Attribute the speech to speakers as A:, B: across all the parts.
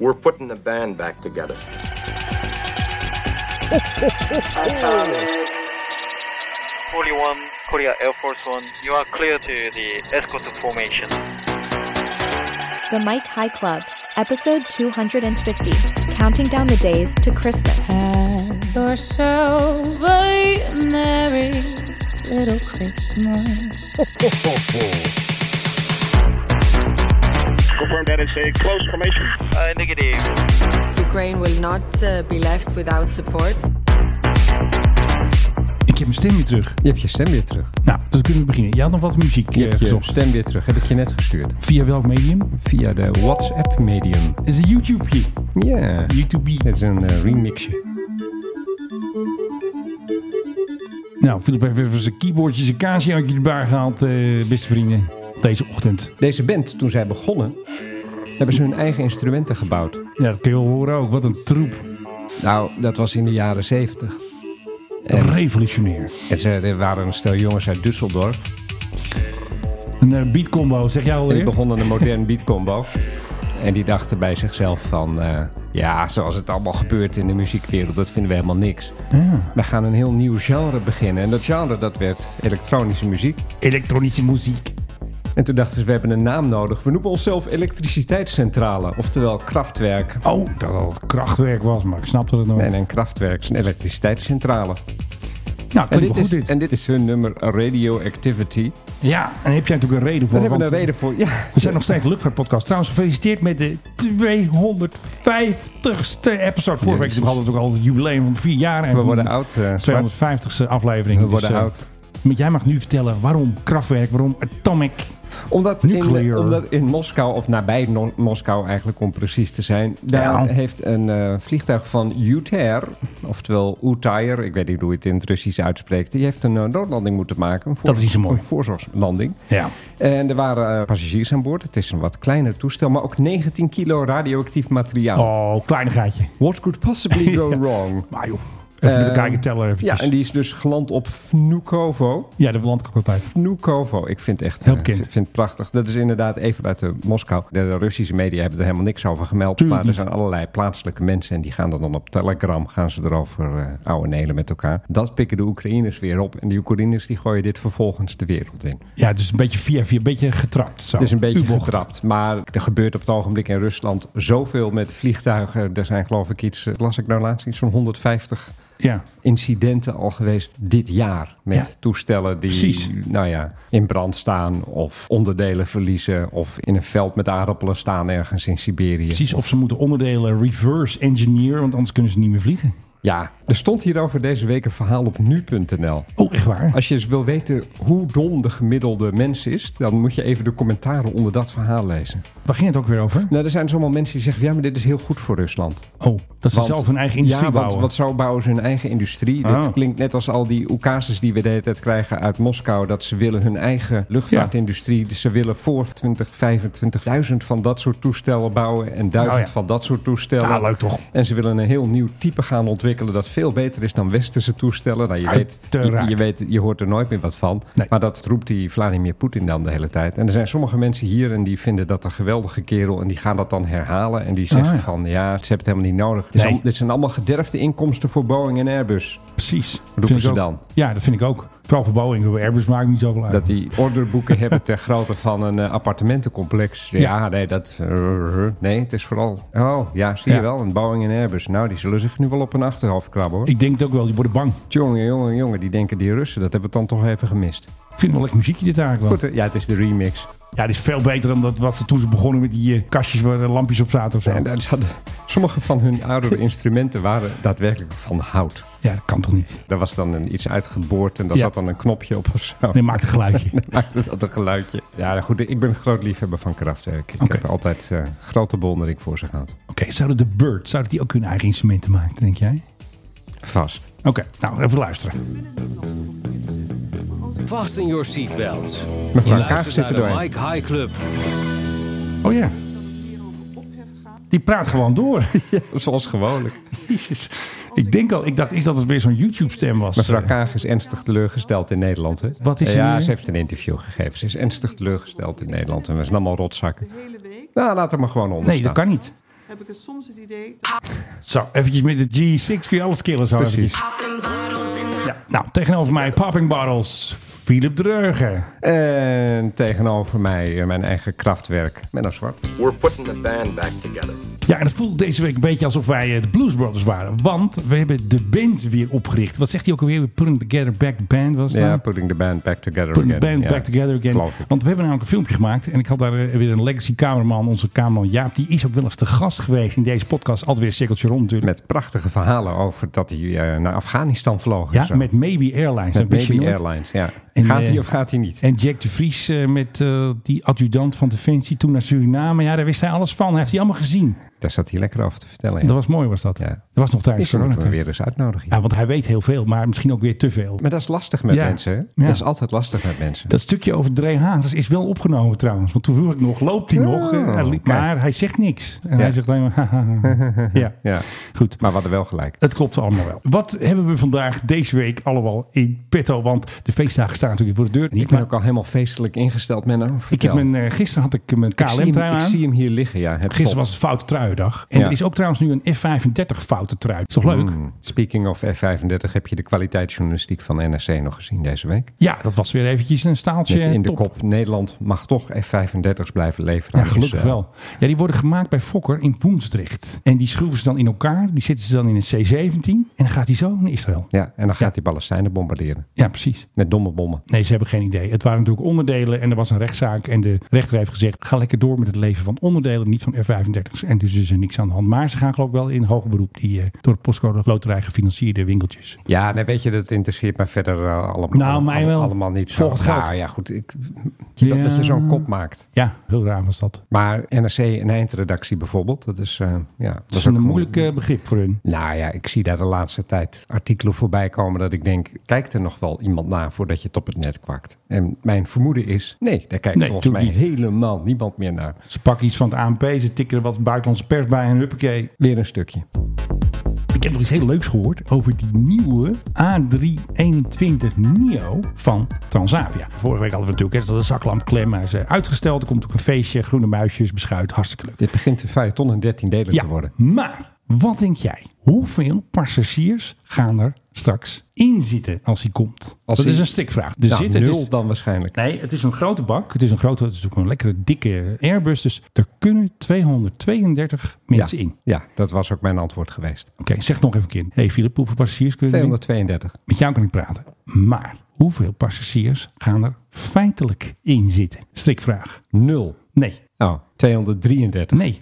A: We're putting the band back together.
B: Atomic. 41 Korea Air Force One, you are clear to the escort formation.
C: The Mike High Club, episode 250, counting down the days to Christmas.
D: Have yourself a merry little Christmas.
E: Confirm that it's a close formation.
B: Uh, negative.
F: Ukraine will not uh, be left without support.
G: Ik heb mijn stem weer terug.
H: Je hebt je stem weer terug.
G: Nou, dan kunnen we beginnen. Je had nog wat muziek
H: Je
G: eh,
H: hebt je
G: gezocht.
H: stem weer terug. Heb ik je net gestuurd.
G: Via welk medium?
H: Via de WhatsApp-medium.
G: Het is een YouTube-je.
H: Ja.
G: YouTube.
H: Dat is een eh, remixje.
G: Nou, Philip heeft even zijn keyboardje, zijn kaasje uit je bar gehaald, eh, beste vrienden. Deze ochtend.
H: Deze band, toen zij begonnen, hebben ze hun eigen instrumenten gebouwd.
G: Ja, dat kun je wel horen ook. Wat een troep.
H: Nou, dat was in de jaren zeventig.
G: Revolutionair.
H: En ze er waren een stel jongens uit Düsseldorf.
G: Een eh, beatcombo, zeg jij
H: En die
G: alweer?
H: begonnen een modern beatcombo. En die dachten bij zichzelf van... eh, ja, zoals het allemaal gebeurt in de muziekwereld, dat vinden we helemaal niks.
G: Ja.
H: We gaan een heel nieuw genre beginnen. En dat genre, dat werd elektronische muziek.
G: Elektronische muziek.
H: En toen dachten ze, we hebben een naam nodig. We noemen onszelf elektriciteitscentrale, oftewel krachtwerk.
G: Oh, dat dat het krachtwerk was, maar ik snapte het nog.
H: En een krachtwerk is een elektriciteitscentrale.
G: Nou,
H: En dit,
G: klinkt wel
H: is,
G: goed dit.
H: en dit is hun nummer Radioactivity.
G: Ja, en heb jij natuurlijk een reden voor.
H: Daar hebben we een
G: want
H: reden voor. Ja.
G: We zijn nog steeds een Luchtvaart Podcast. Trouwens, gefeliciteerd met de 250ste episode. Vorige week
H: Jezus.
G: hadden we ook al het jubileum van vier jaar. En
H: We worden oud. eh, Bart.
G: 250ste aflevering.
H: we worden
G: Dus, eh,
H: oud.
G: Maar jij mag nu vertellen waarom krachtwerk, waarom atomic.
H: Omdat in,
G: nuclear.
H: omdat in Moskou, of nabij No- Moskou eigenlijk om precies te zijn... daar
G: Ja.
H: heeft een eh, vliegtuig van UTAIR, oftewel UTAIR... ik weet niet hoe je het in het Russisch uitspreekt... die heeft een eh, noodlanding moeten maken. Een voor-
G: Dat is niet zo mooi.
H: Een voorzorgslanding.
G: Ja.
H: En er waren eh, passagiers aan boord. Het is een wat kleiner toestel, maar ook 19 kilo radioactief materiaal.
G: Oh, kleinigheidje.
H: What could possibly go wrong?
G: Maar joh, even met
H: Eh,
G: elkaar je teller eventjes.
H: Ja, en die is dus geland op Vnukovo.
G: ja dat beland ik ook altijd.
H: Vnukovo, ik vind het echt
G: Heel
H: eh,
G: bekend.
H: ik vind het prachtig. Dat is inderdaad even buiten Moskou. De, de Russische media hebben er helemaal niks over gemeld.
G: Tuurlijk
H: maar er
G: niet.
H: zijn allerlei plaatselijke mensen en die gaan dan, dan op Telegram gaan ze erover eh ouwe nelen met elkaar. Dat pikken de Oekraïners weer op en die Oekraïners die gooien dit vervolgens de wereld in.
G: Ja, dus een beetje via via, een beetje getrapt. Zo.
H: Het is Dus een beetje
G: U-bocht.
H: getrapt. Maar er gebeurt op het ogenblik in Rusland zoveel met vliegtuigen. Er zijn geloof ik iets, eh, las ik nou laatst, iets van 150
G: Ja.
H: incidenten al geweest dit jaar. Met
G: Ja.
H: toestellen die
G: Precies.
H: nou ja, in brand staan of onderdelen verliezen. Of in een veld met aardappelen staan ergens in Siberië.
G: Precies, of ze moeten onderdelen reverse engineer, want anders kunnen ze niet meer vliegen.
H: Ja, er stond hierover deze week een verhaal op nu.nl.
G: Oh, echt waar?
H: Als je eens wil weten hoe dom de gemiddelde mens is, dan moet je even de commentaren onder dat verhaal lezen.
G: Waar ging het ook weer over?
H: Nou, er zijn dus allemaal mensen die zeggen: ja, maar dit is heel goed voor Rusland.
G: Oh, dat ze
H: Want-
G: zelf hun eigen industrie
H: ja,
G: bouwen.
H: Want, want zo bouwen ze hun eigen industrie.
G: Ah.
H: Dit klinkt net als al die oekases die we de hele tijd krijgen uit Moskou. Dat ze willen hun eigen luchtvaartindustrie. Dus ze willen voor 20, 25.000 van dat soort toestellen bouwen. En duizend
G: Oh ja.
H: van dat soort toestellen.
G: Ah, leuk toch?
H: En ze willen een heel nieuw type gaan ontwikkelen dat veel beter is dan westerse toestellen. Nou, je, weet,
G: Uiteraard.
H: je, je weet, je hoort er nooit meer wat van.
G: Nee.
H: Maar dat roept die Vladimir Poetin dan de hele tijd. En er zijn sommige mensen hier en die vinden dat een geweldige kerel. En die gaan dat dan herhalen. En die zeggen
G: Ah, ja.
H: van ja, ze hebben het helemaal niet nodig. Dit, zijn,
G: Nee. Ah,
H: dit zijn allemaal gederfde inkomsten voor Boeing en Airbus.
G: Precies.
H: Roepen
G: Vind ik
H: ze
G: ook.
H: dan.
G: Ja, dat vind ik ook. Vooral voor Boeing. Voor Airbus maakt niet zoveel uit.
H: Dat die orderboeken hebben ter grootte van een eh, appartementencomplex. Ja,
G: Ja.
H: nee, dat... eh, nee, het is vooral... Oh, ja, zie
G: Ja.
H: je wel. Een Boeing en Airbus. Nou, die zullen zich nu wel op hun achterhoofd krabben, hoor.
G: Ik denk het ook wel. Die worden bang.
H: Jongen, jongen, jongen, die denken die Russen, dat hebben we dan toch even gemist.
G: Ik vind het wel lekker muziekje dit eigenlijk wel.
H: Goed, hè? ja, het is de remix.
G: Ja, dit is veel beter dan dat wat ze toen ze begonnen met die eh, kastjes waar eh, lampjes op zaten of zo.
H: En daar zaten- sommige van hun oudere instrumenten waren daadwerkelijk van hout.
G: Ja, dat kan toch niet?
H: Daar was dan een, iets uitgeboord en daar
G: Ja.
H: zat dan een knopje op of zo.
G: Nee, maakt een geluidje.
H: Maakte dat een geluidje. Ja, nou goed, ik ben een groot liefhebber van Kraftwerk. Ik
G: Oké.
H: heb altijd eh, grote bewondering voor ze gehad.
G: Oké, zouden de Bird, zouden die ook hun eigen instrumenten maken, denk jij?
H: Vast.
G: Oké, nou even luisteren.
I: Fasten your seatbelts.
H: Mevrouw
I: Je
H: Kaag
I: luistert
H: zit
I: naar
H: er
I: de
H: doorheen.
I: Mike High Club.
G: Oh ja. Die praat gewoon door.
H: Zoals gewoonlijk.
G: Jezus. Ik denk al, ik dacht eerst dat het weer zo'n YouTube-stem was.
H: Mevrouw Kaag is ernstig teleurgesteld in Nederland. Hè?
G: Wat is er
H: Ja,
G: nu?
H: ze heeft een interview gegeven. Ze is ernstig teleurgesteld in Nederland en we zijn allemaal rotzakken. Nou, laat er maar gewoon onder
G: Nee,
H: staan.
G: dat kan niet.
J: heb ik het soms het idee.
G: Zo, eventjes met de G6 kun je alles killen zo
H: Precies.
G: eventjes. Ja, nou, tegenover mij Popping Bottles, Philip Dreugen.
H: En tegenover mij eh, mijn eigen krachtwerk, Menno Zwart.
A: We're putting the band back together.
G: Ja, en het voelt deze week een beetje alsof wij eh, de Blues Brothers waren. Want we hebben de band weer opgericht. Wat zegt hij ook alweer? Putting Together Back Band was het
H: Ja,
G: nou?
H: putting the band back together
G: Put the
H: again.
G: band
H: Ja,
G: back together again.
H: Geloof ik.
G: Want we hebben namelijk een filmpje gemaakt. En ik had daar eh, weer een legacy cameraman, onze cameraman Jaap. Die is ook wel eens te gast geweest in deze podcast. Altijd weer een cirkeltje rond natuurlijk.
H: Met prachtige verhalen over dat hij eh, naar Afghanistan vloog. en
G: ja,
H: zo.
G: met Maybe Airlines.
H: Met
G: dat wist je
H: Baby
G: nooit.
H: Airlines. Ja.
G: En,
H: gaat hij
G: eh,
H: of gaat hij niet?
G: En Jack de Vries eh, met eh, die adjudant van Defensie toen naar Suriname. Ja, daar wist hij alles van. Hij heeft hij allemaal gezien.
H: Daar zat hij lekker over te vertellen. ja.
G: Dat was mooi, was dat.
H: Ja.
G: Dat was nog tijdens
H: Misschien moeten we hem weer
G: corona.
H: eens uitnodigen.
G: Ja, want hij weet heel veel, maar misschien ook weer te veel.
H: Maar dat is lastig met
G: Ja.
H: mensen. hè?
G: Ja.
H: Dat is altijd lastig met mensen.
G: Dat stukje over Dre Hazes is wel opgenomen trouwens. Want toen vroeg ik nog, loopt hij nog? Eh, hij liep-
H: Oh, kijk.
G: maar hij zegt niks. En
H: Ja.
G: hij zegt alleen maar... hahaha. ja.
H: Ja.
G: goed.
H: Maar we hadden wel gelijk.
G: Het klopt allemaal wel. Wat hebben we vandaag deze week allemaal in petto? Want de feestdagen staan natuurlijk voor de deur.
H: Ik
G: Niet,
H: ben
G: maar
H: ook al helemaal feestelijk ingesteld, Menno.
G: ik heb
H: Vertel.
G: mijn, eh, gisteren had ik mijn
H: Ik zie hem-
G: KLM-trui
H: Ik
G: aan.
H: zie hem hier liggen, ja. Het
G: Gisteren
H: vod.
G: was het foute truiendag. En
H: Ja.
G: er is ook trouwens nu een F35 foute trui. Is toch leuk?
H: Mm. Speaking of F35, heb je de kwaliteitsjournalistiek van NRC nog gezien deze week?
G: Ja, dat was weer eventjes een staaltje.
H: Met in de
G: top.
H: kop, Nederland mag toch F35's blijven leveren. eh, aan
G: Ja, gelukkig
H: Israël.
G: wel. Ja, die worden gemaakt bij Fokker in Woensdrecht. En die schroeven ze dan in elkaar. Die zetten ze dan in een C-17. En dan gaat die zo naar Israël.
H: Ja, en dan gaat
G: Ja.
H: die Palestijnen bombarderen.
G: Ja, precies.
H: Met domme bommen.
G: Nee, ze hebben geen idee. Het waren natuurlijk onderdelen en er was een rechtszaak. En de rechter heeft gezegd, ga lekker door met het leven van onderdelen, niet van R35's. En dus is er niks aan de hand. Maar ze gaan geloof ik wel in hoger beroep, die eh, door de postcode loterij gefinancierde winkeltjes.
H: Ja, nee, weet je, dat interesseert mij verder eh, allemaal,
G: Nou, mij wel.
H: allemaal niet. zo.
G: Volg het geld.
H: Nou ja, goed. Ik, dat, dat je zo'n kop maakt.
G: Ja, heel raar was dat.
H: Maar NRC en eindredactie bijvoorbeeld, dat is... eh, ja,
G: Dat is
H: ook
G: een
H: moe-
G: moeilijk eh, begrip voor hun.
H: Nou ja, ik zie daar de laatste tijd artikelen voorbij komen dat ik denk, kijkt er nog wel iemand na voordat je het op het net kwakt? En mijn vermoeden is, nee, daar kijkt
G: Nee,
H: volgens mij
G: natuurlijk
H: helemaal niemand meer naar.
G: Ze pakken iets van het ANP, ze tikken er wat buitenlandse pers bij en huppakee.
H: Weer een stukje.
G: Ik heb nog iets heel leuks gehoord over die nieuwe A321 Neo van Transavia. Vorige week hadden we natuurlijk hè, dat de zaklampklem, maar is eh, uitgesteld. Er komt ook een feestje, groene muisjes, beschuit, hartstikke leuk.
H: Dit begint een feuilleton in 13 delen te worden.
G: Maar wat denk jij? Hoeveel passagiers gaan er straks in zitten als hij komt?
H: Als
G: dat
H: hij-
G: is een strikvraag. Er
H: nou,
G: zitten- dus het
H: nul
G: is-
H: dan waarschijnlijk.
G: Nee, het is een grote bak. Het is een grote, het is ook een lekkere dikke Airbus. Dus er kunnen 232 mensen
H: ja,
G: in. Mhm.
H: ja, dat was ook mijn antwoord geweest.
G: Oké, zeg nog even een keer. hey, Filip, hoeveel passagiers kunnen er in?
H: 232.
G: Met jou kan ik praten. Maar hoeveel passagiers gaan er feitelijk in zitten? Strikvraag.
H: Nul.
G: Nee,
H: Oh, 233.
G: nee,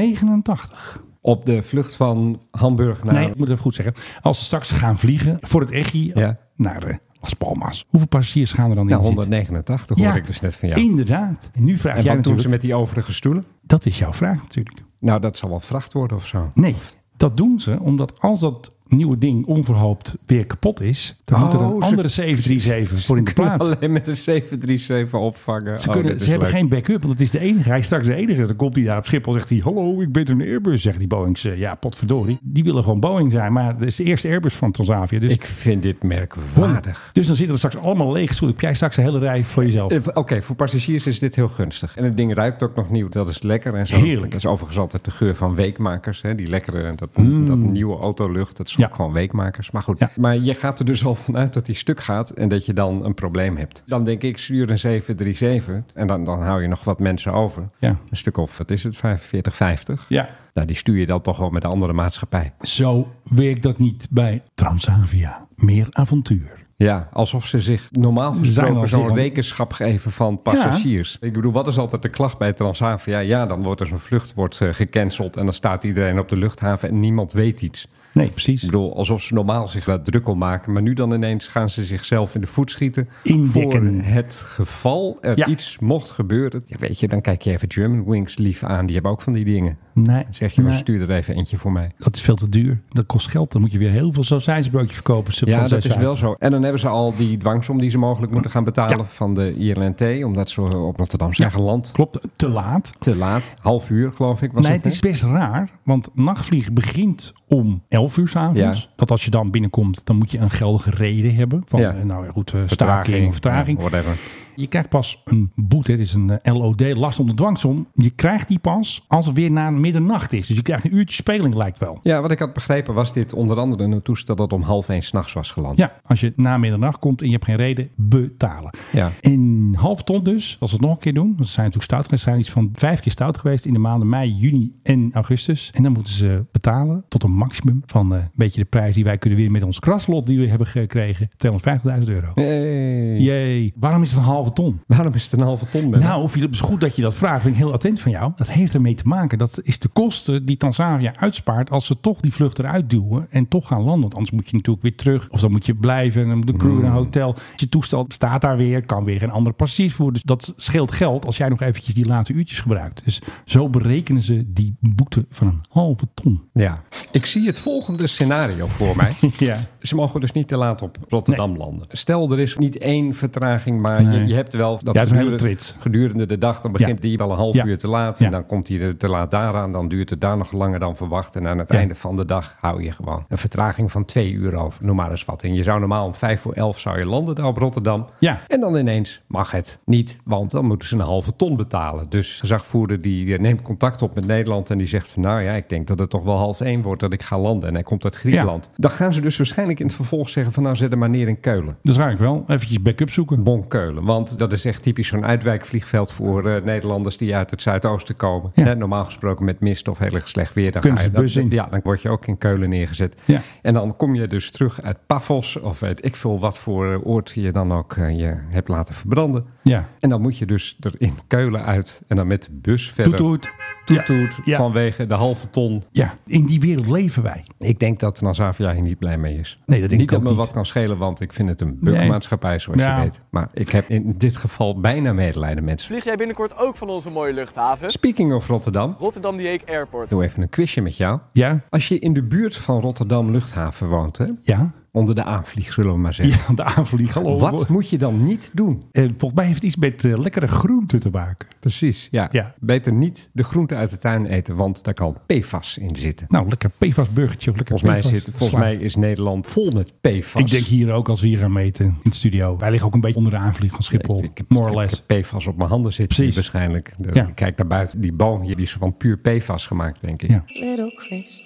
G: 189.
H: Op de vlucht van Hamburg naar...
G: Nee, ik moet het even goed zeggen. Als ze straks gaan vliegen voor het Echi
H: Ja.
G: naar eh, Las Palmas. Hoeveel passagiers gaan er dan
H: Nou,
G: in zitten?
H: 189 hoor ik dus net van jou.
G: Inderdaad. En nu vraag
H: En wat
G: jij
H: doen
G: natuurlijk...
H: ze met die overige stoelen?
G: Dat is jouw vraag natuurlijk.
H: Nou, dat zal wel vracht worden of zo.
G: Nee, dat doen ze omdat als dat nieuwe ding onverhoopt weer kapot is... dan moet er een
H: Oh, ze-
G: andere 737 voor in de
H: kunnen
G: plaats.
H: Alleen met een 737 opvangen.
G: Ze,
H: Oh,
G: kunnen,
H: dit
G: ze
H: is
G: hebben
H: leuk.
G: geen backup, want het is de enige. Hij is straks de enige. Dan komt hij daar op Schiphol zegt hij... Hallo, ik ben een Airbus, zegt die Boeing. Ja, potverdorie. Die willen gewoon Boeing zijn, maar dat is de eerste Airbus van Transavia. Dus
H: Ik vind dit merkwaardig.
G: Dus dan zitten er straks allemaal leeg stoelen. Heb jij straks een hele rij voor jezelf?
H: Eh, Oké, voor passagiers is dit heel gunstig. En het ding ruikt ook nog nieuw. Dat is lekker en zo.
G: Heerlijk.
H: Dat is overigens altijd de geur van weekmakers. Hè? Die lekkere, dat, dat nieuwe autolucht. Dat is
G: Mm. Ja.
H: ook gewoon weekmakers. Maar goed.
G: Ja.
H: Maar je gaat er dus al vanuit dat die stuk gaat. En dat je dan een probleem hebt. Dan denk ik, stuur een 737. En dan, dan hou je nog wat mensen over.
G: Ja.
H: Een stuk of, wat is het, 45, 50.
G: Ja.
H: Nou, die stuur je dan toch wel met een andere maatschappij.
G: Zo werkt dat niet bij Transavia. Meer avontuur.
H: Ja, alsof ze zich normaal
G: Zijn al
H: gesproken
G: zich
H: zo'n
G: al-
H: rekenschap geven van passagiers. Ik bedoel, wat is altijd de klacht bij Transavia? Ja, dan wordt er zo'n vlucht wordt, eh, gecanceld en dan staat iedereen op de luchthaven en niemand weet iets.
G: Nee, precies.
H: Ik bedoel, alsof ze normaal zich daar druk om maken. Maar nu dan ineens gaan ze zichzelf in de voet schieten.
G: Indekken.
H: Voor het geval er
G: Ja.
H: iets mocht gebeuren. Ja, weet je, dan kijk je even German Wings lief aan. Die hebben ook van die dingen.
G: Nee,
H: Dan zeg je,
G: nee.
H: van stuur er even eentje voor mij.
G: Dat is veel te duur. Dat kost geld. Dan moet je weer heel veel sausijsbroodjes verkopen. sub
H: Ja,
G: van
H: dat is
G: 6,50.
H: wel zo. En dan hebben ze al die dwangsom die ze mogelijk moeten gaan betalen
G: Ja.
H: van de ILNT, omdat ze op Rotterdam zijn geland.
G: Klopt, te laat.
H: Te laat, half uur geloof ik was
G: nee,
H: het.
G: het is best raar, want nachtvliegen begint om 11 uur s'avonds.
H: Ja.
G: Dat als je dan binnenkomt, dan moet je een geldige reden hebben. Van,
H: Ja.
G: eh, nou ja, goed, eh,
H: hè?
G: staking of vertraging.
H: Ja, whatever.
G: Je krijgt pas een boete, het is een eh, LOD, last onder dwangsom. Je krijgt die pas als het weer na middernacht is. Dus je krijgt een uurtje speling, lijkt wel.
H: Ja, wat ik had begrepen was dit onder andere een toestel dat om half één s'nachts was geland.
G: Ja, als je na middernacht komt en je hebt geen reden, betalen.
H: Ja.
G: En half ton dus, als we het nog een keer doen. Want ze zijn natuurlijk stout geweest. Ze zijn iets van vijf keer stout geweest in de maanden mei, juni en augustus. En dan moeten ze betalen tot een maximum van eh, een beetje de prijs die wij kunnen winnen met ons kraslot die we hebben gekregen. 250.000 euro.
H: Hey.
G: Jee, waarom is het een halve ton?
H: Waarom is het een halve ton? Ben?
G: Nou, Philip, is goed dat je dat vraagt. Ben ik heel attent van jou. Dat heeft ermee te maken. Dat is de kosten die Tanzania uitspaart als ze toch die vlucht eruit duwen en toch gaan landen. Want anders moet je natuurlijk weer terug. Of dan moet je blijven en dan moet de crew naar een hotel. Je toestel staat daar weer, kan weer geen andere passagiers voeren. Dus dat scheelt geld als jij nog eventjes die late uurtjes gebruikt. Dus zo berekenen ze die boete van een halve ton.
H: ja. Ik zie het volgende scenario voor mij.
G: Ja.
H: Ze mogen dus niet te laat op Rotterdam landen. Stel, er is niet één vertraging, maar
G: Nee.
H: je, je hebt wel dat
G: Ja, het is een hele
H: gedurende-
G: trits.
H: gedurende de dag. Dan begint
G: Ja.
H: die wel een half
G: Ja.
H: uur te laat.
G: Ja.
H: En dan komt hij er te laat daaraan. Dan duurt het daar nog langer dan verwacht. En aan het
G: Ja.
H: einde van de dag hou je gewoon een vertraging van twee uur over. Noem maar eens wat. En je zou normaal om vijf voor elf zou je landen daar op Rotterdam.
G: Ja.
H: En dan ineens mag het niet, want dan moeten ze een halve ton betalen. Dus gezagvoerder die eh, neemt contact op met Nederland en die zegt van... nou ja, ik denk dat het toch wel half één wordt dat ik ga landen. En hij komt uit Griekenland. Dan gaan ze dus waarschijnlijk in het vervolg zeggen van... nou, zet hem maar neer in Keulen.
G: Dus ga ik wel eventjes backup zoeken.
H: Bonkeulen, want dat is echt typisch zo'n uitwijkvliegveld voor eh, Nederlanders die uit het Zuidoosten komen.
G: Ja.
H: Hè, normaal gesproken met mist of heel erg slecht weer. Dan
G: Kunnen
H: ga je
G: ze de bus
H: dat-
G: in.
H: Ja, dan word je ook in Keulen neergezet.
G: Ja.
H: En dan kom je dus terug uit Pafos of uit ik veel wat voor eh, oord je dan ook eh, je hebt laten verbranden.
G: Ja.
H: En dan moet je dus er in Keulen uit en dan met de bus verder.
G: Toet, toet.
H: Toet, toet,
G: Ja. Ja.
H: vanwege de halve ton.
G: ja, in die wereld leven wij.
H: Ik denk dat Transavia hier niet blij mee is.
G: Nee, dat
H: niet
G: denk ik
H: dat
G: ook
H: me
G: niet.
H: wat kan schelen, want ik vind het een burgermaatschappij, zoals
G: Ja.
H: je weet. Maar ik heb in dit geval bijna medelijden met ze.
J: Vlieg jij binnenkort ook van onze mooie luchthaven?
H: Speaking of Rotterdam,
J: Rotterdam Dieek Airport.
H: doe even een quizje met jou.
G: Ja,
H: Als je in de buurt van Rotterdam luchthaven woont, hè?
G: ja.
H: onder de aanvlieg zullen we maar zeggen.
G: Ja, de aanvlieg. Hallo.
H: Wat moet je dan niet doen?
G: Eh, volgens mij heeft het iets met eh, lekkere groenten te maken.
H: Precies, ja.
G: Ja.
H: Beter niet de groente uit de tuin eten, want daar kan PFAS in zitten.
G: Nou, lekker PFAS burgertje of lekker
H: Volgens mij,
G: PFAS
H: zit, volgens
G: sla.
H: mij is Nederland vol met PFAS.
G: Ik denk hier ook als we hier gaan meten in het studio. Wij liggen ook een beetje onder de aanvlieg van Schiphol.
H: Ik- ik heb-
G: more
H: ik
G: or
H: heb
G: less.
H: PFAS op mijn handen zitten
G: Precies.
H: hier waarschijnlijk. De-
G: Ja.
H: ik Kijk naar buiten. Die boom hier die is van puur PFAS gemaakt, denk ik.
G: Ja.
D: Little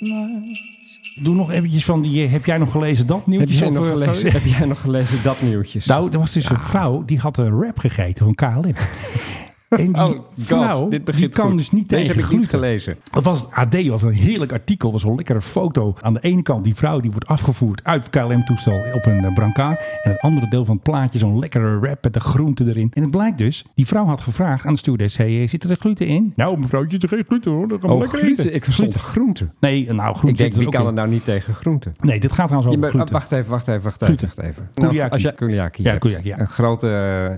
D: Christmas.
G: Doe nog eventjes van die. eh, heb jij nog gelezen dat eh,
H: Heb,
G: nieuwtje?
H: jij nog gelezen, heb jij nog gelezen dat nieuwtjes?
G: Nou, er was dus een vrouw die had een rap gegeten van KLM. En die
H: oh god,
G: vrouw,
H: dit
G: die
H: begint
G: kan
H: goed.
G: dus niet
H: Deze
G: tegen
H: heb ik niet
G: gluten.
H: gelezen.
G: Dat was het AD, was een heerlijk artikel. Dat was een lekkere foto. Aan de ene kant die vrouw die wordt afgevoerd uit het KLM-toestel op een eh, brancard. En het andere deel van het plaatje zo'n lekkere wrap met de groente erin. En het blijkt dus, die vrouw had gevraagd aan de stewardess, hey, eh, zit er gluten in? Nou mevrouwtje, er geen gluten hoor, dat kan
H: Oh,
G: lekker
H: gluten.
G: eten.
H: Ik verstond
G: Gluten.
H: groente.
G: Nee, nou
H: Ik
G: groente
H: denk,
G: zit
H: wie
G: er
H: kan er
G: ook in.
H: nou niet tegen groente?
G: Nee, dit gaat trouwens
H: Je
G: over
H: bent-
G: gluten.
H: wacht even, wacht even, wacht even.
G: Gluten.
H: Wacht even. Nou,
G: Kouliaki.
H: als je kuliaki
G: Ja,
H: hebt,
G: kouliaki, ja.
H: een grote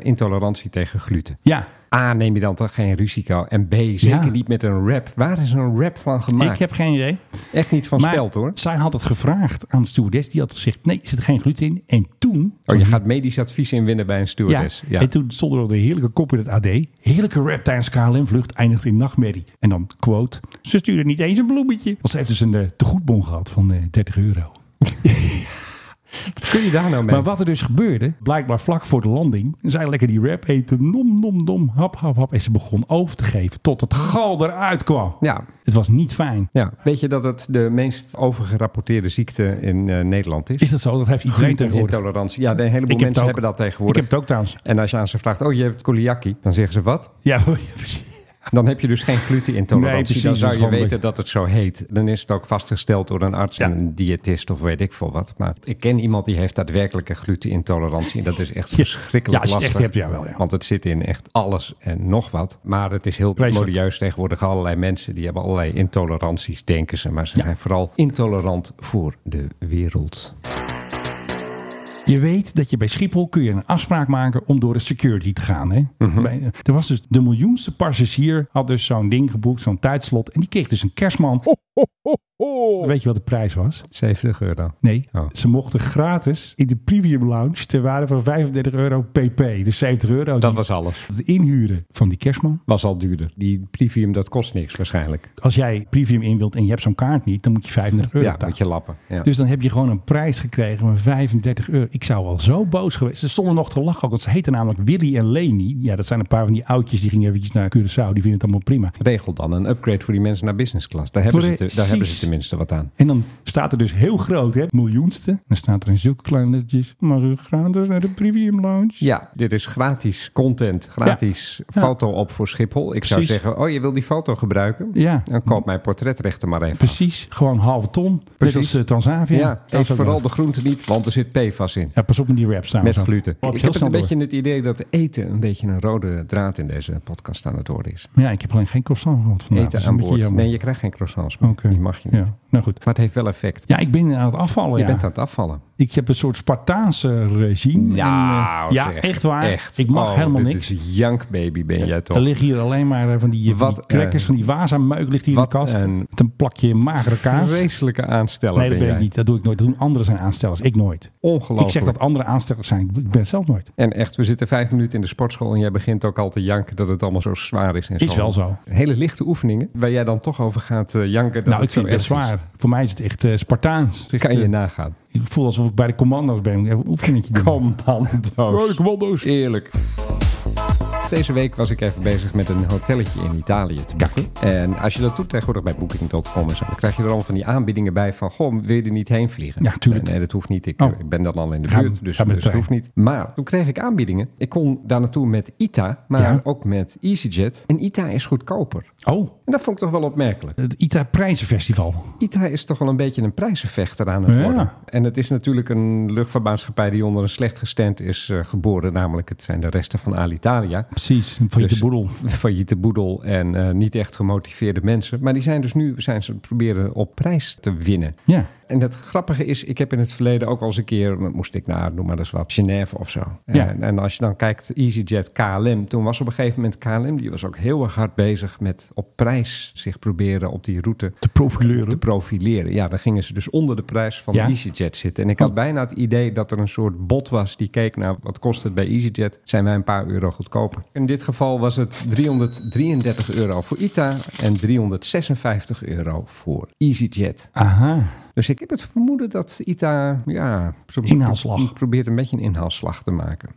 H: eh, intolerantie tegen gluten.
G: Ja,
H: A, neem je dan toch geen risico? En B, zeker
G: Ja.
H: niet met een rap. Waar is een rap van gemaakt?
G: ik heb geen idee.
H: Echt niet van
G: Maar
H: speld, hoor.
G: zij had het gevraagd aan de stewardess. Die had gezegd, nee, er zit geen gluten in. En toen...
H: Oh, je gaat medisch advies inwinnen bij een stewardess. Ja.
G: En toen stond er al de heerlijke kop in het AD. Heerlijke rap tijdens KLM-vlucht eindigt in nachtmerrie. En dan, quote, ze stuurde niet eens een bloemetje. Want ze heeft dus een eh, tegoedbon gehad van eh, 30 euro.
H: Wat kun je daar nou mee?
G: Maar wat er dus gebeurde, blijkbaar vlak voor de landing, zij lekker die rap eten, nom, nom, nom, hap, hap, hap. En ze begon over te geven tot het gal eruit kwam.
H: Ja.
G: Het was niet fijn.
H: Ja, weet je dat het de meest overgerapporteerde ziekte in eh, Nederland is?
G: Is dat zo? Dat heeft iedereen tegenwoordig.
H: Glutenintolerantie. Ja, een heleboel
G: Ik heb het
H: mensen
G: ook.
H: hebben dat tegenwoordig.
G: Ik heb het ook trouwens.
H: En als je aan ze vraagt, oh, je hebt coliaki, dan zeggen ze wat?
G: Ja, precies.
H: Dan heb je dus geen glutenintolerantie.
G: Nee, precies,
H: dan
G: dat
H: zou
G: is
H: je
G: handig.
H: weten dat het zo heet. Dan is het ook vastgesteld door een arts
G: Ja.
H: en een diëtist of weet ik veel wat. Maar ik ken iemand die heeft daadwerkelijk een glutenintolerantie. En dat is echt verschrikkelijk
G: Ja, als je het
H: lastig.
G: echt hebt, ja, wel, ja.
H: Want het zit in echt alles en nog wat. Maar het is heel
G: Vreselijk.
H: modieus tegenwoordig. Allerlei mensen die hebben allerlei intoleranties, denken ze. Maar ze zijn vooral intolerant voor de wereld.
G: Je weet dat je bij Schiphol kun je een afspraak maken om door de security te gaan. Hè?
H: Mhm.
G: Bij- er was dus de miljoenste passagier, had dus zo'n ding geboekt, zo'n tijdslot. En die kreeg dus een kerstman. Ho, ho, ho, Oh. Weet je wat de prijs was?
H: 70 euro.
G: Nee,
H: Oh.
G: ze mochten gratis in de premium lounge ter waarde van 35 euro pp. Dus 70 euro.
H: Dat
G: Die-
H: was alles.
G: Het inhuren van die kerstman.
H: Was al duurder. Die Privium, dat kost niks waarschijnlijk.
G: Als jij premium in wilt en je hebt zo'n kaart niet, dan moet je 35 euro
H: Ja,
G: betalen.
H: moet je lappen. Ja.
G: Dus dan heb je gewoon een prijs gekregen van 35 euro. Ik zou al zo boos geweest. Ze stonden nog te lachen ook, want ze heten namelijk Willy en Leni. Ja, dat zijn een paar van die oudjes die gingen eventjes naar Curaçao. Die vinden het allemaal prima.
H: Regel dan een upgrade voor die mensen naar business class. Daar hebben, ze, te- daar
G: Precies.
H: hebben ze tenminste wat aan.
G: En dan staat er dus heel groot, hè, miljoenste. Dan staat er in zulke kleine lettertjes, maar u gaat dus naar de premium lounge.
H: Ja, dit is gratis content, gratis
G: Ja.
H: foto op voor Schiphol. Ik zou
G: Precies.
H: zeggen, oh je wil die foto gebruiken?
G: Ja.
H: Dan koop mijn portretrechten maar even.
G: Precies, gewoon halve ton. Net
H: Precies.
G: als eh, Transavia.
H: Ja,
G: Dat is
H: eet
G: ook
H: vooral
G: nog.
H: de groente niet, want er zit PFAS in.
G: Ja, pas op met die raps
H: Met
G: trouwens. ook.
H: gluten.
G: Loop je
H: Ik
G: heel
H: heb het
G: snel
H: een
G: door.
H: beetje het idee dat eten een beetje een rode draad in deze podcast aan het worden is.
G: Ja, ik heb alleen geen croissant gehad vandaag. Dat
H: eten
G: is een
H: aan
G: beetje
H: boord.
G: jammer.
H: Nee, je krijgt geen croissants. meer.
G: Oké.
H: Die mag je niet.
G: Ja. Nou goed.
H: Maar het heeft wel effect.
G: Ja, ik ben aan het afvallen.
H: Je
G: ja.
H: bent aan het afvallen.
G: Ik heb een soort Spartaanse regime. En, eh, ja,
H: oh, zeg,
G: echt waar.
H: echt.
G: Ik mag
H: Oh,
G: helemaal
H: dit
G: niks.
H: is een jankbaby ben jij toch.
G: Er liggen hier alleen maar eh, van die, eh, van
H: Wat,
G: die crackers,
H: eh,
G: van die waza-meuk ligt hier
H: wat
G: in de kast.
H: een-
G: Met een plakje magere kaas.
H: Vreselijke aansteller
G: Nee, dat ben
H: jij.
G: ik niet. Dat doe ik nooit. Dat doen anderen zijn aanstellers. Ik nooit.
H: Ongelooflijk.
G: Ik zeg dat anderen aanstellers zijn. Ik ben het zelf nooit.
H: En echt, we zitten vijf minuten in de sportschool en jij begint ook al te janken dat het allemaal zo zwaar is. En
G: Is wel zo.
H: Hele lichte oefeningen, waar jij dan toch over gaat eh, janken. Dat
G: nou, ik
H: het zo
G: vind het best
H: erg is.
G: zwaar. Voor mij is het echt eh, Spartaans.
H: Kan je nou- nagaan.
G: Ik voel alsof ik bij de commando's ben. Even een oefeningetje doen. Oh, de
H: Commando's.
G: commando's.
H: Eerlijk. Deze week was ik even bezig met een hotelletje in Italië te boeken. En als je dat doet tegenwoordig bij booking.com en zo, dan krijg je er allemaal van die aanbiedingen bij van, goh, wil je er niet heen vliegen?
G: Ja, tuurlijk.
H: Nee, nee, dat hoeft niet. Ik,
G: Oh.
H: ik ben dan al in de
G: Ga-
H: buurt, dus,
G: ga
H: dus
G: met de
H: dat
G: trein.
H: hoeft niet. Maar toen kreeg ik aanbiedingen. Ik kon daar naartoe met ITA, maar
G: Ja.
H: ook met EasyJet. En ITA is goedkoper.
G: Oh,
H: En dat vond ik toch wel opmerkelijk.
G: het ITA Prijzenfestival.
H: ITA is toch wel een beetje een prijzenvechter aan het
G: Ja.
H: worden. En het is natuurlijk een luchtvaartmaatschappij die onder een slecht gestent is eh, geboren. Namelijk, het zijn de resten van Alitalia.
G: Precies, van je
H: Dus-
G: de boedel.
H: Failliete boedel en eh, niet echt gemotiveerde mensen. Maar die zijn dus nu, zijn ze proberen op prijs te winnen.
G: Ja.
H: En het grappige is, ik heb in het verleden ook al eens een keer, nou, moest ik naar, noem maar eens wat, Genève of zo.
G: Ja.
H: En, en als je dan kijkt, EasyJet, KLM, toen was op een gegeven moment KLM, die was ook heel erg hard bezig met op prijs zich proberen op die route
G: De
H: te
G: profileuren.
H: profileren. Ja, dan gingen ze dus onder de prijs van
G: Hm? Ja. Oh.
H: EasyJet zitten. En ik had bijna het idee dat er een soort bot was die keek naar wat kost het bij EasyJet. Zijn wij een paar euro goedkoper? In dit geval was het 333 euro voor ITA en 356 euro voor EasyJet.
G: Ah. Aha.
H: Dus ik heb het vermoeden dat ITA, ja, zo
G: Inhaalslag.
H: probeert een beetje een inhaalslag te maken.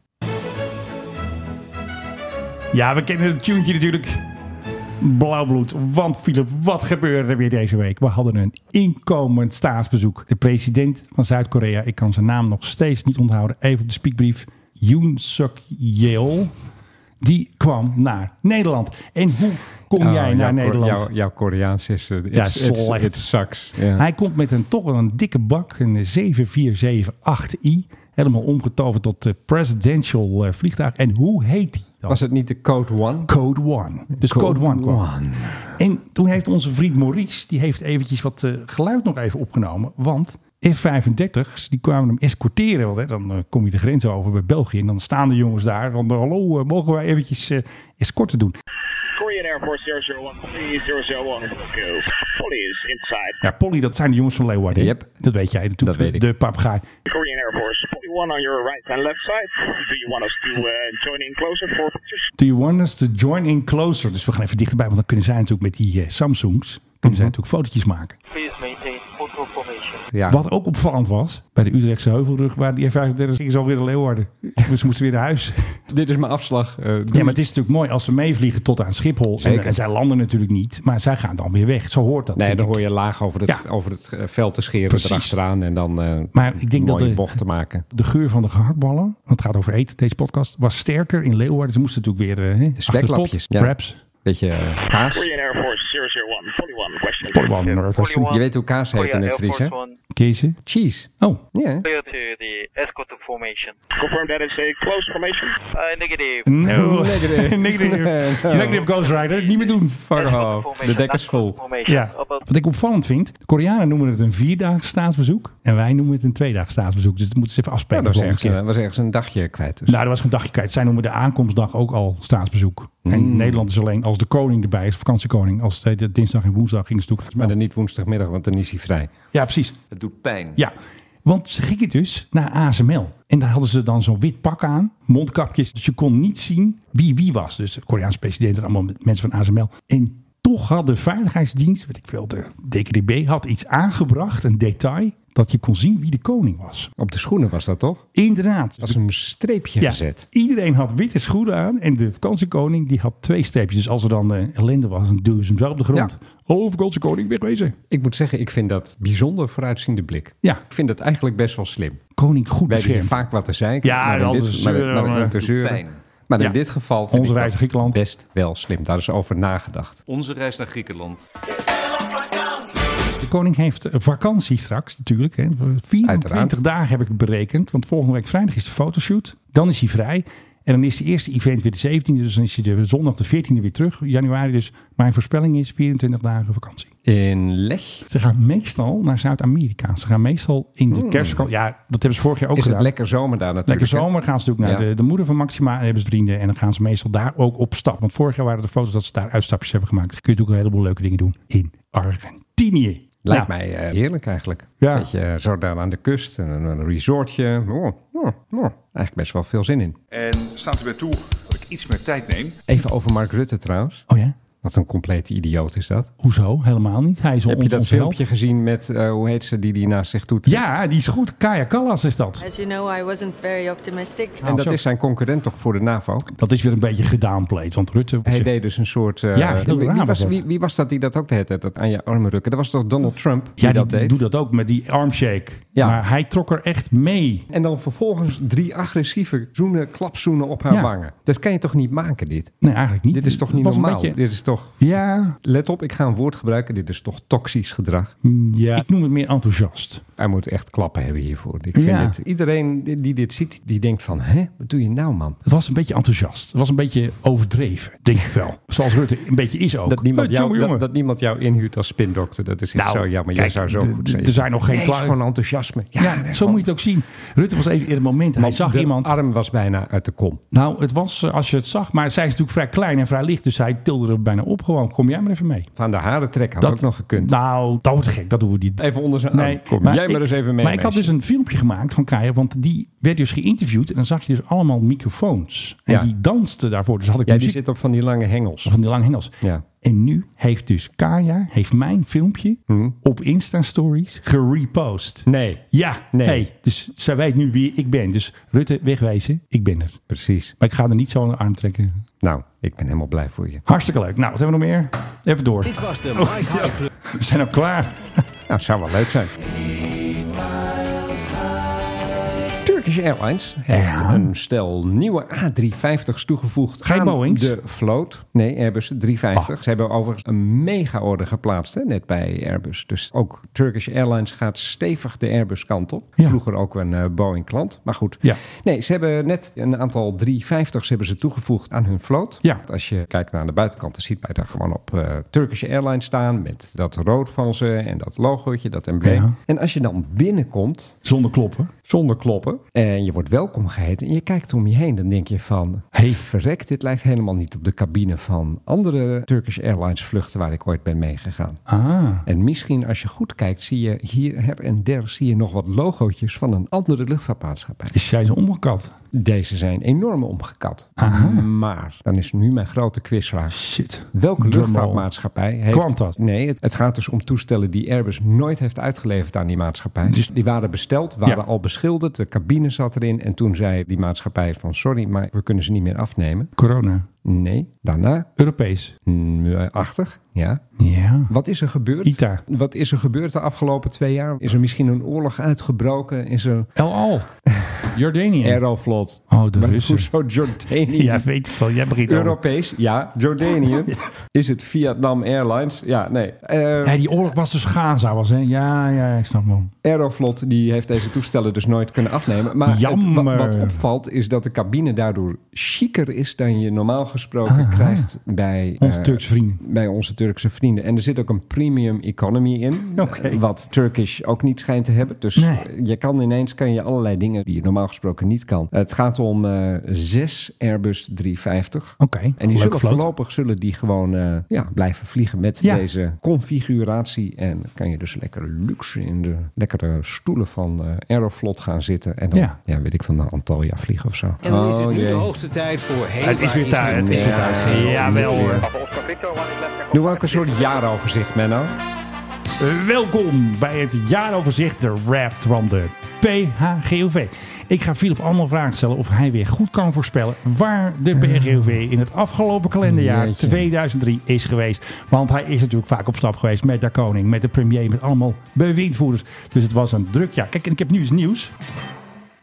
G: Ja, we kennen het tuentje natuurlijk. Blauwbloed, want Philip, wat gebeurde er weer deze week? We hadden een inkomend staatsbezoek. De president van Zuid-Korea, ik kan zijn naam nog steeds niet onthouden, even op de spiekbrief, Yoon Suk Yeol, die kwam naar Nederland. En hoe kom
H: Oh,
G: jij
H: jouw
G: naar
H: Ko-
G: Nederland?
H: Jouw, jouw Koreaans is... eh, it's- it's-
G: slecht.
H: It sucks. Ja.
G: Hij komt met een toch wel een dikke bak, een 7478i, helemaal omgetoverd tot de presidential eh, vliegtuig. En hoe heet die dan?
H: Was het niet de Code One?
G: Code One. Dus Code,
H: Code
G: One kwam. En toen heeft onze vriend Maurice, die heeft eventjes wat eh, geluid nog even opgenomen. Want F-35's, die kwamen hem escorteren. Want hè, dan eh, kom je de grens over bij België. En dan staan de jongens daar. Van, eh, hallo, eh, mogen wij eventjes eh, escorten doen?
E: Korean Air Force 001, please 001, go. Please, inside.
G: Ja, Polly, dat zijn de jongens van Leeuwarden. hè?
H: Yep.
G: Dat weet jij natuurlijk.
H: Dat weet ik.
G: De papagaai.
E: Korean Air Force 41 on your right and left side. Do you want us to uh, join in closer for pictures?
G: Do you want us to join in closer? Dus we gaan even dichterbij, want dan kunnen zij natuurlijk met die eh, Samsungs... kunnen
H: Mhm.
G: zij natuurlijk fotootjes maken.
B: Please maintain photo formation.
H: Ja.
G: Wat ook opvallend was, bij de Utrechtse Heuvelrug... waar die F-35 ging ze alweer naar Leeuwarden. Dus ze moesten weer naar huis.
H: Dit is mijn afslag. eh, doei.
G: Ja, maar het is natuurlijk mooi als ze meevliegen tot aan Schiphol. En,
H: Zeker.
G: en zij landen natuurlijk niet, maar zij gaan dan weer weg. Zo hoort dat.
H: Nee,
G: vind
H: dan
G: ik.
H: hoor je laag over het,
G: Ja.
H: over het eh, veld te scheren
G: Precies.
H: erachteraan en dan eh
G: Maar ik denk dat
H: mooie
G: de-
H: bocht te maken.
G: De geur van de gehaktballen, want het gaat over eten, deze podcast, was sterker in Leeuwarden. Ze moesten natuurlijk weer eh, achter de pot,
H: speklapjes, ja.
G: wraps.
H: Beetje eh, kaas.
E: Korean Air Force 001, 41, question.
G: Pollywan, Northwestern,
H: Je weet hoe kaas heet
B: Korea
H: in het
B: Air
H: Fries,
B: Force
H: hè?
B: One,
G: Kezen.
H: Cheese.
G: Oh,
H: Ja.
B: clear to the escort formation.
E: Confirm that it's a closed formation.
B: Uh, negative.
G: No.
H: Negative.
G: Negative. Negative Ghost Rider. Niet meer doen.
H: Fuck off. De dek is vol.
G: Ja. Wat ik opvallend vind, de Koreanen noemen het een vierdaags staatsbezoek en wij noemen het een tweedaags staatsbezoek. Dus dat moeten ze even
H: Ja,
G: afspreken.
H: dat eh, was
G: de volgende
H: ergens,
G: keer.
H: een- was ergens een dagje kwijt. Dus.
G: Nou, dat was een dagje kwijt. Zij noemen de aankomstdag ook al staatsbezoek. En
H: Mm.
G: Nederland is alleen als de koning erbij is, vakantiekoning. Als de, de dinsdag en woensdag gingen ze natuurlijk.
H: maar dan niet woensdagmiddag, want dan is hij vrij.
G: Ja, precies.
K: Het doet pijn.
G: Ja, want ze gingen dus naar ASML. En daar hadden ze dan zo'n wit pak aan, mondkapjes. Dus je kon niet zien wie wie was. Dus de Koreaanse president en allemaal mensen van ASML. En toch had de veiligheidsdienst, weet ik veel, de DKDB, had iets aangebracht, een detail, dat je kon zien wie de koning was.
H: Op de schoenen was dat toch?
G: Inderdaad.
H: Was een streepje gezet.
G: Iedereen had witte schoenen aan en de vakantiekoning die had twee streepjes. Dus als er dan eh, ellende was, dan duwden ze hem zo op de grond. Oh, vakantiekoning, wegwezen.
H: Ik moet zeggen, ik vind dat bijzonder vooruitziende blik.
G: Ja.
H: Ik vind dat eigenlijk best wel slim.
G: Koning goed
H: We hebben hier
G: beschermd.
H: vaak wat te zijn.
G: Ja, en
H: in
G: altijd
H: dit-
G: te
H: maar-
G: zeuren,
H: maar- maar
G: eh,
H: te zeuren.
K: pijn.
H: Maar in
G: Ja.
H: dit geval vind
G: Onze
H: ik
G: reis
H: dat
G: naar Griekenland.
H: best wel slim. Daar is over nagedacht.
K: Onze reis naar Griekenland.
G: De koning heeft eh, vakantie straks natuurlijk. Hè. 24
H: Uiteraard.
G: dagen heb ik het berekend. Want volgende week vrijdag is de fotoshoot. Dan is hij vrij. En dan is de eerste event weer de 17e. Dus dan is hij de zondag de 14e weer terug. Januari dus. Mijn voorspelling is 24 dagen vakantie.
H: In Leg
G: Ze gaan meestal naar Zuid-Amerika. Ze gaan meestal in de kerstvakantie. Ja, dat hebben ze vorig jaar ook
H: is het
G: gedaan.
H: lekker zomer daar natuurlijk.
G: Lekker
H: hè?
G: zomer gaan ze natuurlijk naar
H: Ja.
G: de, de moeder van Maxima en hebben ze vrienden. En dan gaan ze meestal daar ook op stap. Want vorig jaar waren de foto's dat ze daar uitstapjes hebben gemaakt. Dan kun je natuurlijk een heleboel leuke dingen doen in Argentinië.
H: Lijkt
G: Nou,
H: mij eh, heerlijk eigenlijk.
G: Ja.
H: Weet je, eh, zo daar aan de kust, en een, een resortje. Oh, oh, oh. Eigenlijk best wel veel zin in.
L: En staat erbij toe dat ik iets meer tijd neem.
H: Even over Mark Rutte trouwens.
G: Oh ja?
H: Wat een complete idioot is dat.
G: Hoezo? Helemaal niet. Hij is
H: Heb je
G: ons-
H: dat
G: onze held.
H: filmpje gezien met, eh, hoe heet ze, die die naast zich doet?
G: Ja, die is goed. Kaya Kallas is dat.
F: As you know, I wasn't very optimistic. uh,
H: En dat is zijn concurrent toch voor de NAVO?
G: Dat is weer een beetje gedownplayed. Want Rutte...
H: Hij deed dus een soort... eh,
G: Ja, heel
H: wie- wie,
G: raar was
H: was,
G: dat.
H: wie, wie was dat die dat ook de hele tijd dat aan je armen rukken? Dat was toch Donald Trump die
G: ja, die,
H: dat
G: die
H: deed?
G: doet dat ook met die armshake.
H: Ja.
G: Maar hij trok er echt mee.
H: En dan vervolgens drie agressieve zoenen, klapzoenen op haar
G: Ja.
H: wangen. Dat kan je toch niet maken, dit?
G: Nee, eigenlijk niet.
H: Dit is toch
G: Het
H: niet
G: was een
H: normaal?
G: beetje-
H: Dit is toch...
G: Ja,
H: Let op, ik ga een woord gebruiken. Dit is toch toxisch gedrag.
G: ja, ik noem het meer enthousiast.
H: Hij moet echt klappen hebben hiervoor. Ik vind
G: Ja.
H: het, iedereen die die dit ziet, die denkt van... Hè, wat doe je nou, man?
G: Het was een beetje enthousiast. Het was een beetje overdreven, denk ik wel. Zoals Rutte een beetje is ook.
H: Dat niemand,
G: Eh,
H: jou,
G: jongen,
H: dat,
G: jongen.
H: dat niemand jou inhuurt als spindokter. Dat is echt
G: Nou,
H: zo jammer. Jij
G: kijk,
H: zou zo
G: d-
H: goed
G: d-
H: zijn.
G: er zijn nog geen
H: Nee, het is
G: klaar-
H: gewoon enthousiasme. Ja,
G: ja, zo moet je het ook zien. Rutte was even in het moment. Hij zag
H: de
G: iemand.
H: arm was bijna uit de kom.
G: Nou, het was eh, als je het zag. Maar zij is natuurlijk vrij klein en vrij licht. Dus hij tilde er bijna op gewoon. Kom jij maar even mee.
H: Van de haren trekken had ook nog gekund.
G: Nou, dat wordt gek. Dat doen we niet.
H: even onder zijn
G: Nee,
H: arm. Kom,
G: maar
H: jij maar
G: ik-
H: eens even mee,
G: Maar ik had
H: meisje.
G: dus een filmpje gemaakt van Kaya, want die werd dus geïnterviewd en dan zag je dus allemaal microfoons. En
H: Ja.
G: die danste daarvoor. Dus had ik
H: Jij die
G: muziek
H: zit op van die lange hengels.
G: van die lange hengels.
H: Ja.
G: En nu heeft dus Kaya, heeft mijn filmpje op Insta Stories gerepost.
H: Mhm. Nee,
G: Ja,
H: Nee.
G: Hey, dus zij weet nu wie ik ben. Dus Rutte, wegwijzen, ik ben er.
H: precies.
G: Maar ik ga er niet zo aan de arm trekken.
H: Nou, ik ben helemaal blij voor je.
G: Hartstikke leuk. Nou, wat hebben we nog meer? Even door.
I: Dit was de
G: Oh,
I: Mike High Club.
G: We zijn ook klaar.
H: Nou, het zou wel leuk zijn. Turkish Airlines heeft
G: Ja.
H: een stel nieuwe A350's toegevoegd
G: Geen
H: aan
G: Boeings? Ah.
H: de vloot. Nee, Airbus 350. Ze hebben overigens een mega-order geplaatst, hè, net bij Airbus. Dus ook Turkish Airlines gaat stevig de Airbus kant op.
G: Ja.
H: Vroeger ook een eh, Boeing-klant, maar goed.
G: Ja.
H: Nee, ze hebben net een aantal 350's hebben ze toegevoegd aan hun vloot.
G: Ja.
H: Als je kijkt naar de buitenkant, dan ziet wij daar gewoon op eh, Turkish Airlines staan... met dat rood van ze en dat logootje, dat embleem.
G: Ja.
H: En als je dan binnenkomt,
G: Zonder kloppen.
H: zonder kloppen. En je wordt welkom geheten en je kijkt om je heen. Dan denk je van, hey verrek, dit lijkt helemaal niet op de cabine van andere Turkish Airlines vluchten waar ik ooit ben meegegaan.
G: Ah.
H: En misschien als je goed kijkt, zie je hier her en der zie je nog wat logootjes van een andere luchtvaartmaatschappij.
G: Is zij zo omgekat?
H: Deze zijn enorm omgekat. Maar, dan is nu mijn grote quizvraag.
G: Shit.
H: Welke
G: Drumroll.
H: luchtvaartmaatschappij heeft...
G: Qantas.
H: Nee, het, het gaat dus om toestellen die Airbus nooit heeft uitgeleverd aan die maatschappij. Dus die waren besteld, waren
G: Ja.
H: al beschilderd, de cabine zat erin. En toen zei die maatschappij van sorry, maar we kunnen ze niet meer afnemen.
G: Corona.
H: Nee, daarna,
G: Europees.
H: mm, eh, achtig, ja.
G: Ja.
H: Wat is er gebeurd?
G: ITA.
H: Wat is er gebeurd de afgelopen twee jaar? Is er misschien een oorlog uitgebroken? Is er...
G: El Al. Jordanië.
H: Aeroflot.
G: Oh, de maar Russen.
H: Hoezo Jordanië?
G: ja, weet ik wel. Jij begint
H: Europees, over. ja. Jordanië. is het Vietnam Airlines? Ja, nee. Eh,
G: Uh, ja, die oorlog was dus Gaza, was hè? Ja, ja, ik snap wel.
H: Aeroflot die heeft deze toestellen dus nooit kunnen afnemen. Maar het, wa, wat opvalt is dat de cabine daardoor chiquer is dan je normaal gesproken Aha. krijgt bij eh,
G: onze, uh, Turkse vrienden.
H: bij onze Turkse vrienden. En er zit ook een premium economy in, okay. wat Turkish ook niet schijnt te hebben. Dus nee. je kan ineens kan je allerlei dingen die je normaal gesproken niet kan. Het gaat om uh, zes Airbus 350.
G: Oké. Okay.
H: En die zullen vloot. voorlopig zullen die gewoon uh, ja, blijven vliegen met ja. deze configuratie. En kan je dus lekker luxe in de lekkere stoelen van uh, Aeroflot gaan zitten. En dan ja. ja weet ik van naar Antalya vliegen of zo.
I: En dan is het nu oh, de hoogste tijd voor heen.
G: Het is weer tijd. Het is weer tijd. Jawel hoor.
H: Nu ook een soort jaaroverzicht, Menno.
G: Welkom bij het jaaroverzicht, de Rap van de PHGOV. Ik ga Philip allemaal vragen stellen of hij weer goed kan voorspellen waar de PHGOV in het afgelopen kalenderjaar Jeetje. 2003 is geweest. Want hij is natuurlijk vaak op stap geweest met de koning, met de premier, met allemaal bewindvoerders. Dus het was een druk jaar. Kijk, en ik heb nu eens nieuws.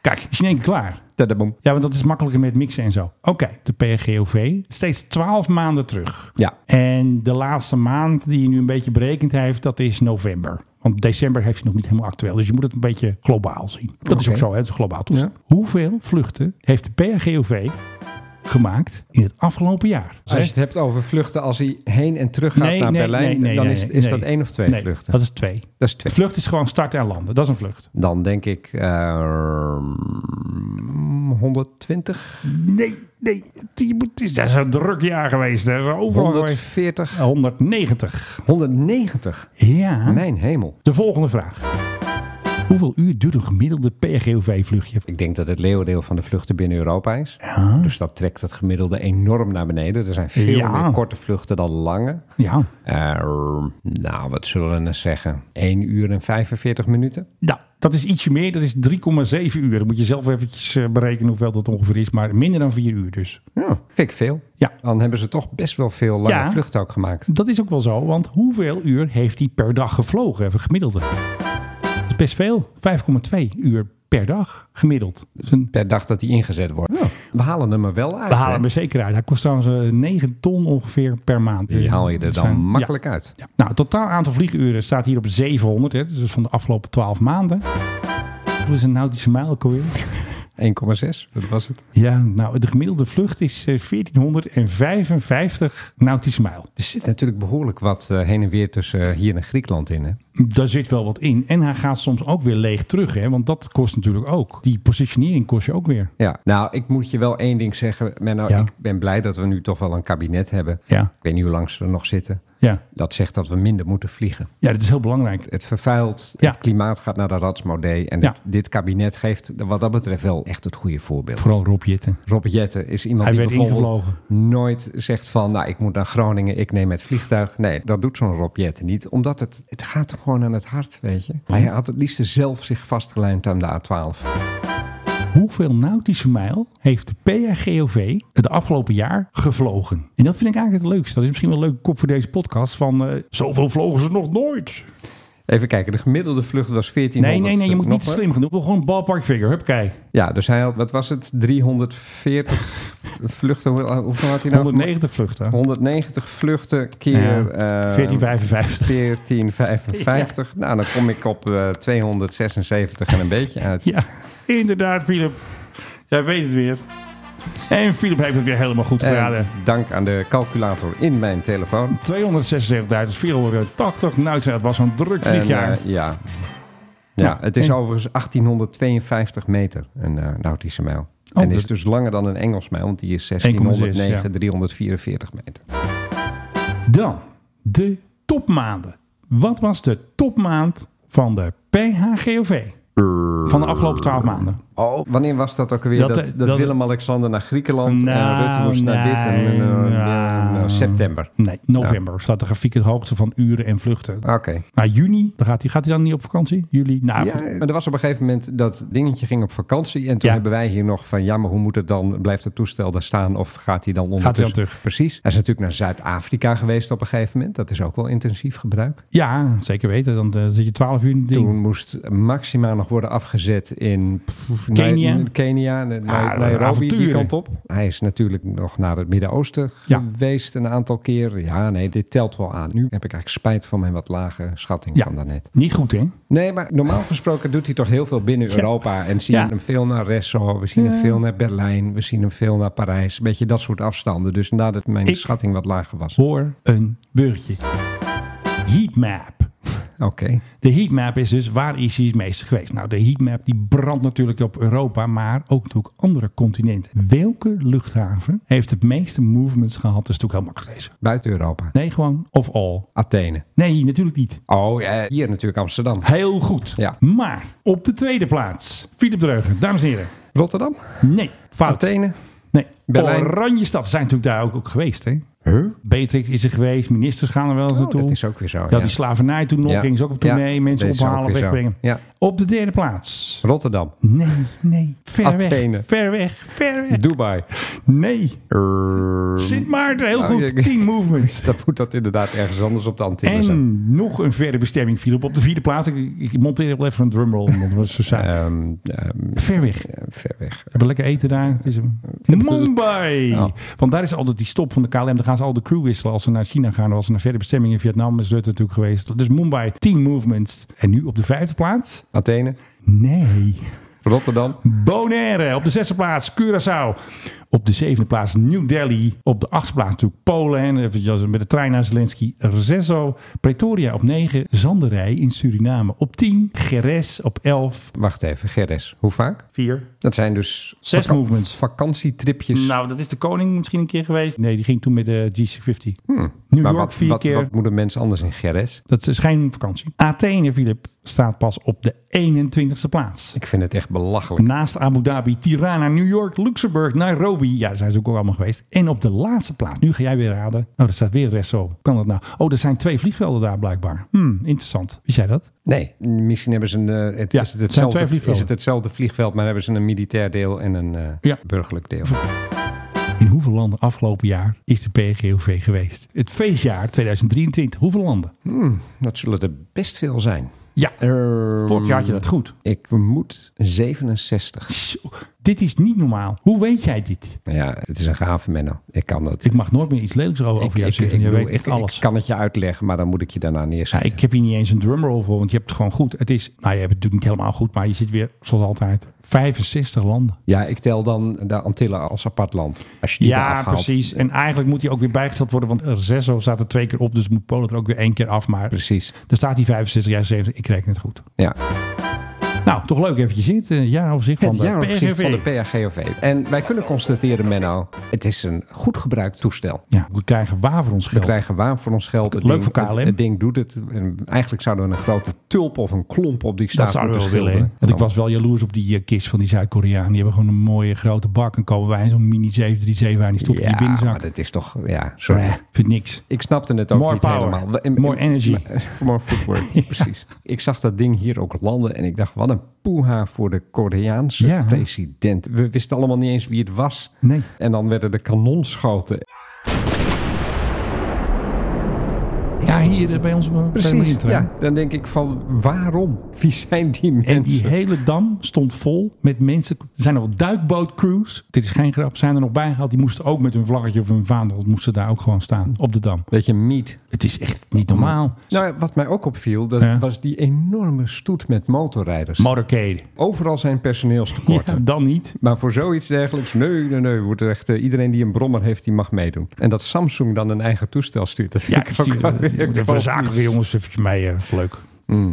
G: Kijk, die is in één keer klaar.
H: Tadabom.
G: Ja, want dat is makkelijker met mixen en zo. Oké, okay, de PGOV. Steeds twaalf maanden terug.
H: Ja.
G: En de laatste maand die je nu een beetje berekend heeft, dat is november. Want december heeft je nog niet helemaal actueel. Dus je moet het een beetje globaal zien. Dat okay. is ook zo, hè? Het is globaal toestand. Ja. Hoeveel vluchten heeft de PGOV gemaakt in het afgelopen jaar.
H: Dus Als je het hebt over vluchten als hij heen en terug gaat nee, naar nee, Berlijn, nee, dan is, is dat één of twee vluchten.
G: Dat is twee.
H: Dat is twee.
G: Vlucht is gewoon starten en landen. Dat is een vlucht.
H: Dan denk ik uh, 120.
G: Nee, nee. Dat is een druk jaar geweest. Hè. Overal
H: 140. Geweest.
G: 190.
H: 190?
G: Ja.
H: Mijn hemel.
G: De volgende vraag. Hoeveel uur duurt een gemiddelde PRGOV-vluchtje?
H: Ik denk dat het leeuwendeel van de vluchten binnen Europa is. Ja. Dus dat trekt het gemiddelde enorm naar beneden. Er zijn veel ja. meer korte vluchten dan lange.
G: Ja.
H: Uh, nou, wat zullen we nou zeggen? 1 uur en 45 minuten?
G: Nou, dat is ietsje meer. Dat is 3,7 uur. Dan moet je zelf eventjes eh, berekenen hoeveel dat ongeveer is. Maar minder dan 4 uur dus.
H: Ja, vind ik veel.
G: Ja.
H: Dan hebben ze toch best wel veel lange ja, vluchten ook gemaakt.
G: Dat is ook wel zo. Want hoeveel uur heeft hij per dag gevlogen? Even gemiddelde best veel. 5,2 uur per dag gemiddeld.
H: Dus een... Per dag dat die ingezet wordt.
G: Oh.
H: Ja. We halen hem er wel uit.
G: We halen hem er zeker uit. Hij kost trouwens 9 ton ongeveer per maand.
H: Die haal je er dan Zijn... makkelijk
G: ja.
H: uit.
G: Ja. Nou, het totaal aantal vlieguren staat hier op 700. Hè. Dus van de afgelopen 12 maanden. Wat is een nautische mijl ook
H: 1,6, dat was het.
G: Ja, nou, de gemiddelde vlucht is 1455 nautische mijl.
H: Er zit natuurlijk behoorlijk wat eh, heen en weer tussen hier en Griekenland in, hè?
G: Daar zit wel wat in. En hij gaat soms ook weer leeg terug, hè? Want dat kost natuurlijk ook. Die positionering kost je ook weer.
H: Ja, nou, ik moet je wel één ding zeggen. Menno, ja. ik ben blij dat we nu toch wel een kabinet hebben.
G: Ja. Ik
H: weet niet hoe lang ze er nog zitten.
G: Ja.
H: Dat zegt dat we minder moeten vliegen.
G: Ja, dat is heel belangrijk.
H: Het vervuilt, ja. het klimaat gaat naar de ratsmodee. En ja. dit, dit, kabinet geeft wat dat betreft wel echt het goede voorbeeld.
G: Vooral Rob Jetten.
H: Rob Jetten is iemand
G: Hij
H: die bijvoorbeeld
G: ingevlogen.
H: nooit zegt van... nou, ik moet naar Groningen, ik neem het vliegtuig. Nee, dat doet zo'n Rob Jetten niet. Omdat het, het gaat hem gewoon aan het hart, weet je. Want? Hij had het liefst zelf zich vastgelijnd aan de A12.
G: Hoeveel nautische mijl heeft de PHGOV het afgelopen jaar gevlogen? En dat vind ik eigenlijk het leukste. Dat is misschien wel een leuke kop voor deze podcast. Van uh, zoveel vlogen ze nog nooit.
H: Even kijken, de gemiddelde vlucht was 1400.
G: Nee, nee, nee, je moet niet slim genoeg. Gewoon een ballpark figure, huppakee.
H: Ja, dus hij had, wat was het, 340 vluchten. Hoeveel had hij nou?
G: 190 vluchten. Eh,
H: 190 vluchten keer... Ja, uh,
G: 1455.
H: 1455. Ja. Nou, dan kom ik op uh, 276 en een beetje uit.
G: Ja, inderdaad, Philip. Jij weet het weer. En Philip heeft het weer helemaal goed geraden.
H: Dank aan de calculator in mijn telefoon.
G: 276.480. Nou, het was een druk vliegjaar.
H: Uh, ja. ja. Nou, het is en... overigens 1852 meter, een uh, nautische mijl. Oh, en dat... is dus langer dan een Engels mijl, want die is 1609, ja. 344 meter.
G: Dan de topmaanden. Wat was de topmaand van de PHGOV? Van de afgelopen twaalf maanden.
H: Oh, wanneer was dat ook weer? Dat, dat, dat, dat Willem-Alexander naar Griekenland nou, en Rutte moest nee, naar dit. En, uh, nou, uh, september.
G: Nee, november nou. staat de grafiek het hoogste van uren en vluchten.
H: Oké. Okay.
G: Maar juni, dan gaat hij gaat hij dan niet op vakantie? Juli? Nou,
H: ja, Ah, eh, goed. maar er was op een gegeven moment dat dingetje ging op vakantie. En toen ja. hebben wij hier nog van, ja, maar hoe moet het dan? Blijft het toestel daar staan of gaat hij dan ondertussen?
G: Gaat hij dan terug?
H: Precies. Hij is natuurlijk naar Zuid-Afrika geweest op een gegeven moment. Dat is ook wel intensief gebruik.
G: Ja, zeker weten. Dan uh, zit je eh, twaalf uur in
H: Toen moest Maxima nog worden afgezet in... Pff,
G: Kenia.
H: Nee, Kenia, nee,
G: Ah,
H: Nairobi, die
G: avonturen.
H: kant op. Hij is natuurlijk nog naar het Midden-Oosten
G: Ja.
H: geweest een aantal keer. Ja, nee, dit telt wel aan. Nu heb ik eigenlijk spijt van mijn wat lage schatting
G: Ja.
H: van daarnet.
G: Niet goed, hè?
H: Nee, maar normaal gesproken doet hij toch heel veel binnen
G: Ja.
H: Europa. En zien
G: Ja.
H: we hem veel naar Resso, we zien
G: Ja.
H: hem veel naar Berlijn, we zien hem veel naar Parijs. Een beetje dat soort afstanden. Dus nadat mijn
G: Ik-
H: schatting wat lager was.
G: Hoor een beurtje. Heatmap.
H: Oké.
G: De heatmap is dus waar is hij het meeste geweest? Nou, de heatmap die brandt natuurlijk op Europa, maar ook natuurlijk andere continenten. Welke luchthaven heeft het meeste movements gehad? Dat is natuurlijk heel makkelijk deze.
H: Buiten Europa.
G: Nee, gewoon of all.
H: Athene.
G: Nee, natuurlijk niet.
H: Oh, ja, hier natuurlijk Amsterdam.
G: Heel goed.
H: Ja.
G: Maar op de tweede plaats, Philip Dreugen, dames en heren.
H: Rotterdam?
G: Nee, fout.
H: Athene?
G: Nee,
H: Berlijn.
G: Oranje stad zijn natuurlijk daar ook, ook geweest, hè? Huh? Beatrix is er geweest, ministers gaan er wel eens naartoe.
H: Oh, dat is ook weer zo,
G: Ja,
H: ja.
G: die slavernij toen nog,
H: Ja.
G: gingen ze ook op tournee,
H: Ja,
G: mensen
H: deze ook
G: ophalen,
H: weer zo.
G: wegbrengen.
H: Ja.
G: Op de derde plaats.
H: Rotterdam.
G: Nee, nee. Ver
H: Athene.
G: weg. Ver weg. Ver weg.
H: Dubai.
G: Nee.
H: Erm,
G: Sint Maarten, heel
H: Oh,
G: goed.
H: ja.
G: Team Movement.
H: dan moet dat inderdaad ergens anders op de antenne zijn.
G: En nog een verre bestemming viel op. Op de vierde plaats. Ik, ik monteer wel even een drumroll. Want het was zo saai.
H: Ehm, ehm,
G: Ver weg.
H: eh, ver weg.
G: Hebben lekker eten daar. Het is een... Mumbai. Want daar is altijd die stop van de KLM. Dan gaan ze al de crew wisselen als ze naar China gaan. Of als ze naar verre bestemmingen in Vietnam is Rutte natuurlijk geweest. Dus Mumbai, Team Movements. En nu op de vijfde plaats?
H: Athene,
G: Nee.
H: Rotterdam,
G: Hm. Bonaire op de zesde plaats. Curaçao op de zevende plaats. New Delhi op de achtste plaats. Natuurlijk Polen. En eventjes met de trein naar Zelensky. Rezo. Pretoria op negen. Zanderij in Suriname op tien. Geres op elf.
H: wacht even, Geres. Hoe vaak?
G: Vier.
H: Dat zijn dus
G: Zes movements.
H: vakantietripjes.
G: Nou, dat is de koning misschien een keer geweest. Nee, die ging toen met de G50. New
H: maar
G: York
H: Hmm. Nou, wat,
G: vier
H: wat,
G: keer.
H: wat moeten mensen anders in Geres?
G: Dat is geen vakantie. Athene, Filip, staat pas op de 21ste plaats.
H: Ik vind het echt belachelijk.
G: Naast Abu Dhabi, Tirana, New York, Luxemburg, Nairobi. Ja, daar zijn ze ook allemaal geweest. En op de laatste plaats, nu ga jij weer raden. Oh, daar staat weer Resso. Hoe Kan dat nou? Oh, er zijn twee vliegvelden daar blijkbaar. Hmm, interessant. Wist jij dat?
H: Nee, misschien hebben ze een. eh, het,
G: Ja,
H: is, het
G: het zijn
H: hetzelfde,
G: twee vliegvelden.
H: is het hetzelfde vliegveld, maar hebben ze een militair deel en een eh,
G: Ja.
H: burgerlijk deel?
G: In hoeveel landen afgelopen jaar is de PGOV geweest? Het feestjaar 2023. Hoeveel landen?
H: Dat zullen er best veel zijn.
G: Ja, vorig jaar had je dat goed.
H: Ik vermoed 67.
G: Zo, dit is niet normaal. Hoe weet jij dit?
H: Nou Ja, het is een gave Menno. Ik kan dat.
G: Ik mag nooit meer iets lelijks over over jou zeggen. Jij
H: bedoel,
G: weet echt
H: ik-
G: alles.
H: Ik kan het je uitleggen, maar dan moet ik je daarna
G: Ja,
H: neerzetten.
G: ik heb hier niet eens een drumroll voor, want je hebt het gewoon goed. Het is, nou je hebt het natuurlijk niet helemaal goed, maar je zit weer, zoals altijd, 65 landen.
H: Ja, ik tel dan de Antillen als apart land. Als je die
G: Ja,
H: eraf haalt.
G: precies. En eigenlijk moet die ook weer bijgesteld worden, want Rezo staat er twee keer op, dus moet Polen er ook weer één keer af. Maar
H: Precies.
G: er staat die 65, jij 70, ik reken het goed.
H: Ja.
G: Nou, toch leuk eventjes in het eh, jaaroverzicht van
H: Het
G: de
H: jaaroverzicht
G: PRGV.
H: van de PRGOV. En wij kunnen constateren, Menno, het is een goed gebruikt toestel.
G: Ja, we krijgen waar voor ons
H: We
G: geld.
H: krijgen waar voor ons geld. Het
G: Leuk
H: ding-
G: voor KLM.
H: Het, het ding doet het. En eigenlijk zouden we een grote tulp of een klomp op die staat
G: Dat zouden we wel
H: moeten
G: willen. hè?
H: schilderen.
G: Want ik was wel jaloers op die eh, kist van die Zuid-Koreaan. Die hebben gewoon een mooie grote bak. En komen wij in zo'n mini 737 aan. Die stopt in je
H: Oh, Ja, maar
G: binnenzak.
H: dat is toch... Ja, sorry.
G: Eh, Vind niks.
H: Ik snapte het ook
G: More
H: niet
G: power.
H: helemaal. En-
G: More energy.
H: More footwork, precies. Ik zag dat ding hier ook landen en ik dacht, wat een poeha voor de Koreaanse
G: Ja.
H: president. We wisten allemaal niet eens wie het was.
G: Nee.
H: En dan werden de kanonschoten.
G: Ja, hier eh, bij ons op- bij de
H: Precies,
G: Marientrein.
H: ja. Dan denk ik van, waarom? Wie zijn die mensen?
G: En die hele dam stond vol met mensen. Er zijn al duikbootcrews. Dit is geen grap. Zijn er nog bijgehaald. Die moesten ook met hun vlaggetje of hun vaandel. Moesten daar ook gewoon staan op de dam.
H: Beetje meat.
G: Het is echt niet normaal.
H: Nou, wat mij ook opviel, dat
G: Ja.
H: was die enorme stoet met motorrijders.
G: Motorcade.
H: Overal zijn personeelstekorten.
G: Ja, dan niet.
H: Maar voor zoiets dergelijks, nee, nee, nee. Wordt er echt, eh, iedereen die een brommer heeft, die mag meedoen. En dat Samsung dan een eigen toestel stuurt, dat
G: Ja,
H: vind
G: ik
H: ik ook
G: stuur
H: wel weer Mm.
G: de
H: komisch.
G: verzakelijke jongens even mee. eh, is leuk.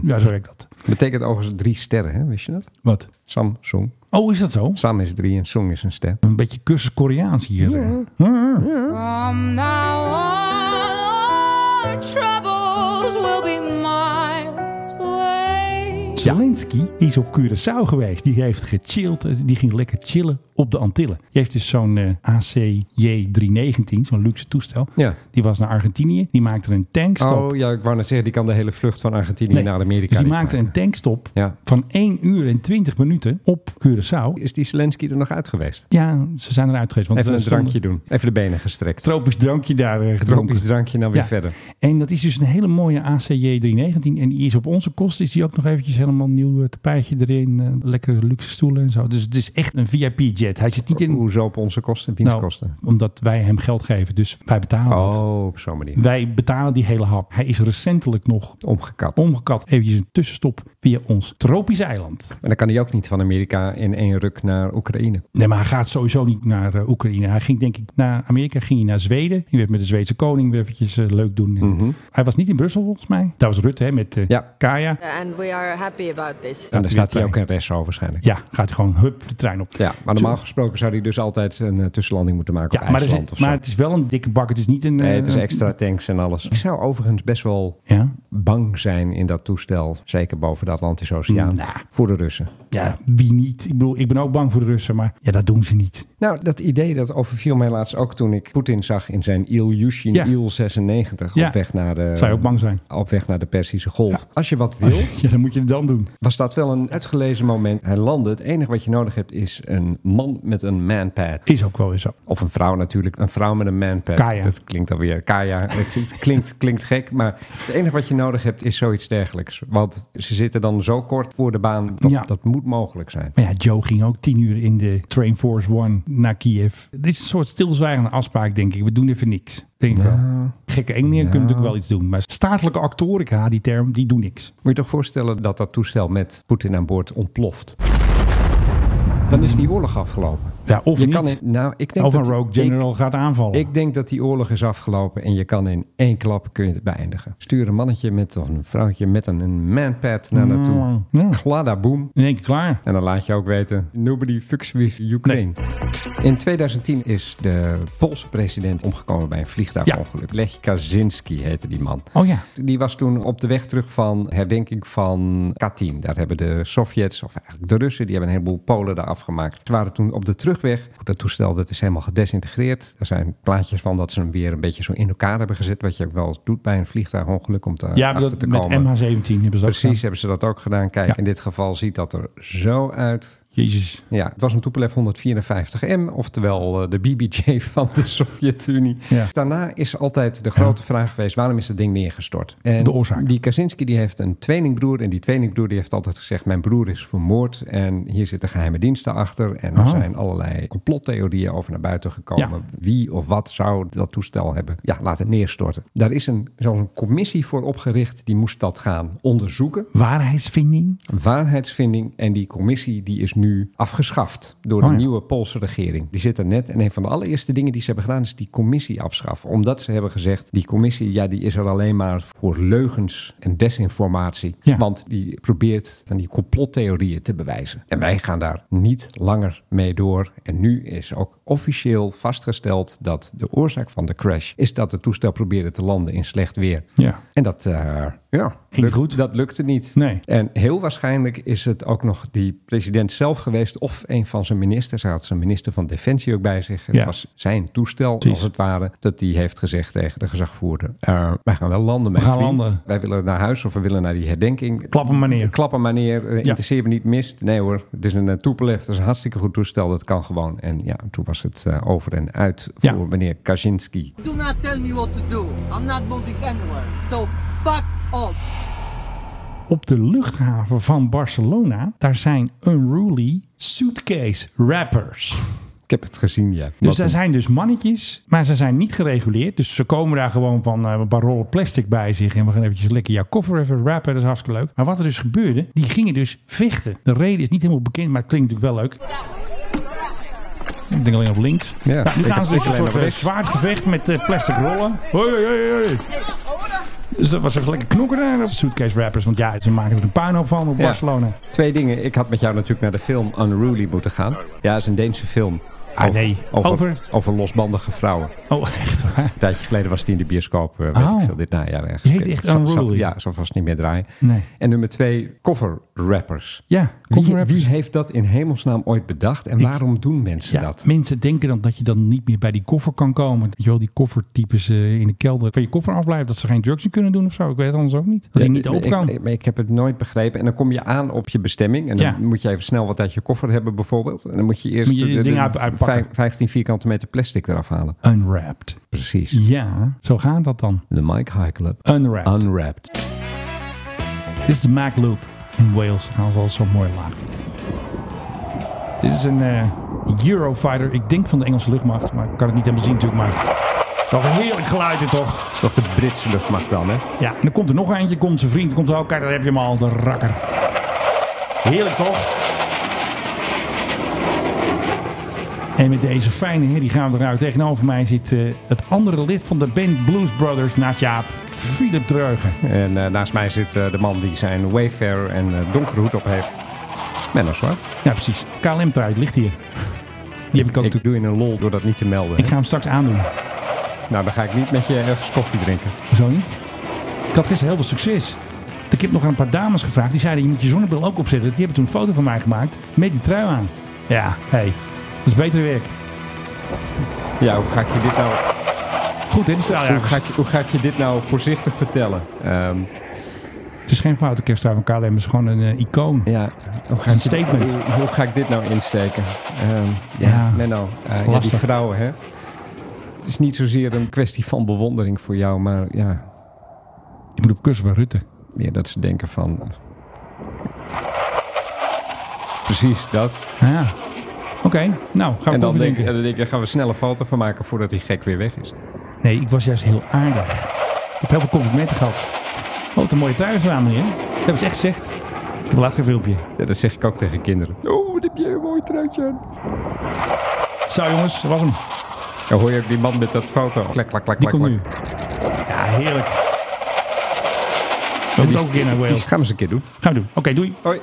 G: Ja, zo werkt dat.
H: Betekent overigens drie sterren, hè? wist je dat?
G: Wat?
H: Samsung.
G: Oh, is dat zo?
H: Sam is drie en Song is een ster.
G: Een beetje cursus Koreaans hier. Ah,
D: From now on, all our troubles will be miles away.
G: Zelensky is op Curaçao geweest. Die heeft gechilled. eh, Die ging lekker chillen op de Antillen. Die heeft dus zo'n eh, ACJ-319, zo'n luxe toestel.
H: Ja.
G: Die was naar Argentinië. Die maakte er een tankstop.
H: Oh ja, ik wou net zeggen, die kan de hele vlucht van Argentinië
G: Nee.
H: naar Amerika.
G: Dus die
H: niet
G: maakte
H: maken.
G: een tankstop
H: Ja.
G: van 1 uur en 20 minuten op Curaçao.
H: Is die Zelensky er nog uit geweest?
G: Ja, ze zijn eruit geweest. Want
H: Even
G: we
H: een
G: eh, stonden-
H: drankje doen. Even de benen gestrekt.
G: Tropisch drankje daar eh, gedronken.
H: Tropisch drankje, nou weer
G: Ja.
H: verder.
G: En dat is dus een hele mooie ACJ 319. En die is op onze kosten is die ook nog eventjes helemaal nieuw tapijtje erin. eh, lekkere luxe stoelen en zo. Dus het is echt een VIP-jet. Hij zit niet in...
H: Hoezo op onze kosten en kosten?
G: Nou, omdat wij hem geld geven. Dus wij betalen
H: oh,
G: dat.
H: op zo'n manier.
G: Wij betalen die hele hap. Hij is recentelijk nog
H: omgekat.
G: Omgekat. Even een tussenstop via ons tropisch eiland.
H: En dan kan hij ook niet van Amerika in één ruk naar Oekraïne.
G: Nee, maar hij gaat sowieso niet naar uh, Oekraïne. Hij ging denk ik naar Amerika, ging hij naar Zweden. Hij werd met de Zweedse koning weer eventjes uh, leuk doen.
H: Mhm.
G: Mm-hmm. Hij was niet in Brussel volgens mij. Daar was Rutte hè, met uh, ja. Kaya.
F: And we are happy about this.
H: En daar staat hij ook een restro waarschijnlijk.
G: Ja, gaat hij gewoon hup de trein op.
H: Ja, maar normaal gesproken zou hij dus altijd een tussenlanding moeten maken ja, op
G: maar
H: IJsland
G: is, Maar het is wel een dikke bak. Het is niet een... eh,
H: nee, het is extra tanks en alles. eh, Ik zou overigens best wel ja? bang zijn in dat toestel. Zeker boven de Atlantische Oceaan. Mm. Nah. Voor de Russen.
G: Ja, wie niet? Ik bedoel, ik ben ook bang voor de Russen, maar ja, dat doen ze niet.
H: Nou, dat idee dat overviel mij laatst ook toen ik Poetin zag in zijn Ilyushin ja. Il-96 op ja. weg naar de...
G: Zou je ook bang zijn?
H: Op weg naar de Persische Golf. Ja. Als je wat wil...
G: ja, dan moet je het dan doen.
H: Was dat wel een uitgelezen moment. Hij landde. Het enige wat je nodig hebt is een man met een manpad.
G: Is ook wel weer zo.
H: Of een vrouw natuurlijk. Een vrouw met een manpad.
G: Kaya.
H: Dat klinkt alweer... Kaya. Het klinkt, klinkt gek, maar het enige wat je nodig hebt is zoiets dergelijks. Want ze zitten dan zo kort voor de baan. Dat, ja. dat moet mogelijk zijn.
G: Maar ja, Joe ging ook tien uur in de Train Force One naar Kiev. Dit is een soort stilzwijgende afspraak, denk ik. We doen even niks. Denk ik ja. wel. Gekke Engelen ja. kunnen natuurlijk wel iets doen. Maar statelijke actorica, die term, die doen niks.
H: Moet je, je toch voorstellen dat dat toestel met Poetin aan boord ontploft? Dan is die oorlog afgelopen.
G: Ja, of
H: je
G: niet.
H: Kan in, nou, ik denk
G: of
H: dat
G: een rogue general
H: ik,
G: gaat aanvallen.
H: Ik denk dat die oorlog is afgelopen en je kan in één klap kun je het beëindigen. Stuur een mannetje met, of een vrouwtje met een, een manpad naar naartoe. Mm, ja. Glada boom.
G: In één keer klaar.
H: En dan laat je ook weten, nobody fucks with Ukraine. Nee. In 2010 is de Poolse president omgekomen bij een vliegtuigongeluk. Ja. Lech Kaczynski heette die man.
G: Oh ja.
H: Die was toen op de weg terug van herdenking van Katyn. Daar hebben de Sovjets, of eigenlijk de Russen, die hebben een heleboel Polen daar afgemaakt. Ze waren toen op de terug Weg. Dat toestel dat is helemaal gedesintegreerd. Er zijn plaatjes van dat ze hem weer een beetje zo in elkaar hebben gezet. Wat je ook wel doet bij een vliegtuigongeluk om te,
G: ja,
H: achter te
G: met
H: komen.
G: MH17 hebben ze dat
H: Precies,
G: gedaan.
H: hebben ze dat ook gedaan. Kijk, ja. in dit geval ziet dat er zo uit.
G: Jezus.
H: Ja, het was een Tupolev 154M, oftewel eh, de BBJ van de Sovjet-Unie. Ja. Daarna is altijd de grote ja. vraag geweest, waarom is dat ding neergestort?
G: En de oorzaak.
H: Die Kaczynski die heeft een tweelingbroer en die tweelingbroer die heeft altijd gezegd, mijn broer is vermoord en hier zitten geheime diensten achter. En er oh. zijn allerlei complottheorieën over naar buiten gekomen. Ja. Wie of wat zou dat toestel hebben ja, laten neerstorten? Daar is een, zelfs een commissie voor opgericht, die moest dat gaan onderzoeken.
G: Waarheidsvinding?
H: Waarheidsvinding en die commissie die is nu afgeschaft door de oh ja. nieuwe Poolse regering. Die zit er net. En een van de allereerste dingen die ze hebben gedaan is die commissie afschaffen. Omdat ze hebben gezegd, die commissie ja, die is er alleen maar voor leugens en desinformatie. Ja. Want die probeert van die complottheorieën te bewijzen. En wij gaan daar niet langer mee door. En nu is ook officieel vastgesteld dat de oorzaak van de crash is dat het toestel probeerde te landen in slecht weer.
G: Ja.
H: En dat uh, ja,
G: Ging
H: lukt,
G: goed.
H: dat lukte niet.
G: Nee.
H: En heel waarschijnlijk is het ook nog die president zelf geweest of een van zijn ministers. Hij had zijn minister van Defensie ook bij zich. Het ja. was zijn toestel, Precies. als het ware, dat die heeft gezegd tegen de gezagvoerder. Uh, wij gaan wel landen,
G: met
H: we gaan
G: vriend. landen.
H: Wij willen naar huis of we willen naar die herdenking.
G: Klappen manier.
H: Klappen manier. Uh, ja. Interesseer me niet mist. Nee hoor, het is een uh, Tupolev. Dat is een hartstikke goed toestel. Dat kan gewoon. En ja, toen was het eh, over en uit voor ja. meneer Kaczynski.
M: Do not tell me what to do. I'm not moving anywhere. So fuck off.
G: Op de luchthaven van Barcelona, daar zijn unruly suitcase rappers.
H: Ik heb het gezien, ja. eh,
G: Dus daar zijn dus mannetjes, maar ze zijn niet gereguleerd. Dus ze komen daar gewoon van uh, een paar rollen plastic bij zich. En we gaan eventjes lekker jouw koffer even rappen. Dat is hartstikke leuk. Maar wat er dus gebeurde, die gingen dus vechten. De reden is niet helemaal bekend, maar het klinkt natuurlijk wel leuk. Ik denk alleen op links.
H: Ja, ja
G: nu gaan ze dus een soort uh, zwaardgevecht met uh, plastic rollen. Hoi, hoi, hoi. Dus dat was echt lekker knokken daar op Suitcase Rappers. Want ja, ze maken er een puinhoop van op ja. Barcelona.
H: Twee dingen. Ik had met jou natuurlijk naar de film Unruly moeten gaan. Ja, dat is een Deense film.
G: Over, ah nee,
H: over, over? over? losbandige vrouwen.
G: Oh, echt waar?
H: Een tijdje geleden was die in de bioscoop, weet oh. ik veel, dit najaar echt.
G: Je heet echt zal,
H: zal, ja, zal vast niet meer draaien.
G: Nee.
H: En nummer twee, coverrappers.
G: Ja,
H: cover wie, wie, heeft dat in hemelsnaam ooit bedacht en ik, waarom doen mensen
G: ja,
H: dat?
G: Mensen denken dan dat je dan niet meer bij die koffer kan komen. Dat je wel die koffertypes uh, in de kelder van je koffer afblijft. Dat ze geen drugs kunnen doen of zo. Ik weet het anders ook niet. Dat hij ja, niet open
H: Eh, ik,
G: kan.
H: Ik, ik, heb het nooit begrepen. En dan kom je aan op je bestemming. En dan ja. moet je even snel wat uit je koffer hebben bijvoorbeeld. En dan moet je eerst...
G: Moet je de, de, dingen uit,
H: 15 vierkante meter plastic eraf halen.
G: Unwrapped.
H: Precies.
G: Ja, zo gaat dat dan.
H: De Mike High Club.
G: Unwrapped.
H: Unwrapped.
G: Dit is de Mac Loop. in Wales gaan ze al zo mooi laag vliegen. Dit is een eh, Eurofighter, ik denk van de Engelse luchtmacht, maar ik kan het niet helemaal zien natuurlijk. Maar toch een heerlijk geluid dit toch?
H: Dat is toch de Britse luchtmacht dan, hè?
G: Ja, en dan komt er nog eentje, komt zijn vriend, komt ook, kijk daar heb je hem al, de rakker. Heerlijk toch? En met deze fijne herrie gaan we eruit. Tegenover mij zit eh, het andere lid van de band Blues Brothers, naast Jaap, Philip Dreugen.
H: En eh, naast mij zit eh, de man die zijn Wayfarer en eh, donkere hoed op heeft. Menno Zwart.
G: Ja, precies. KLM-trui ligt hier. Die heb ik ook.
H: Ik doe in een lol door dat niet te melden.
G: Ik ga hem straks aandoen.
H: Nou, dan ga ik niet met je ergens koffie drinken.
G: Zo niet? Ik had gisteren heel veel succes. Want Ik heb nog aan een paar dames gevraagd. Die zeiden, je moet je zonnebril ook opzetten. Die hebben toen een foto van mij gemaakt met die trui aan. Ja, hé. Hey, dat is beter werk.
H: Ja, hoe ga ik je dit nou...
G: Goed, hè, die straaljagers.
H: Hoe ga ik, hoe ga ik je dit nou voorzichtig vertellen? Ehm,
G: Het is geen foute kersttrui van KLM. Het is gewoon een eh, icoon.
H: ja, hoe
G: Een statement.
H: Hoe, hoe ga ik dit nou insteken? Ehm, ja,
G: Ja,
H: Menno. eh, ja, die
G: lastig.
H: vrouwen, hè? Het is niet zozeer een kwestie van bewondering voor jou, maar ja,
G: Je moet op kussen bij Rutte.
H: meer dat ze denken van... Precies, dat.
G: Ah, ja. Oké, nou, gaan
H: En
G: we
H: dan,
G: erover
H: denk,
G: denken.
H: en dan denk ik, daar gaan we snel een foto van maken voordat die gek weer weg is.
G: Nee, ik was juist heel aardig. Ik heb heel veel complimenten gehad. Oh, wat een mooie trui is aan, meneer. Dat hebben ze echt gezegd. Ik heb laat geen filmpje.
H: Ja, dat zeg ik ook tegen kinderen. Oh, wat heb je een mooi truitje aan.
G: Zo, jongens. Dat was hem.
H: Dan Nou, hoor je ook die man met dat foto. Klak, klak, klak,
G: Die
H: klak.
G: komt nu.
H: klak.
G: Ja, heerlijk. We moeten ook een keer naar
H: Die
G: Wales.
H: gaan we eens een keer doen.
G: Gaan we doen. Oké, doei.
H: Hoi.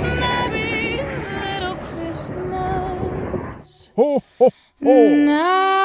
D: Little Christmas.
G: Ho, ho,
D: Now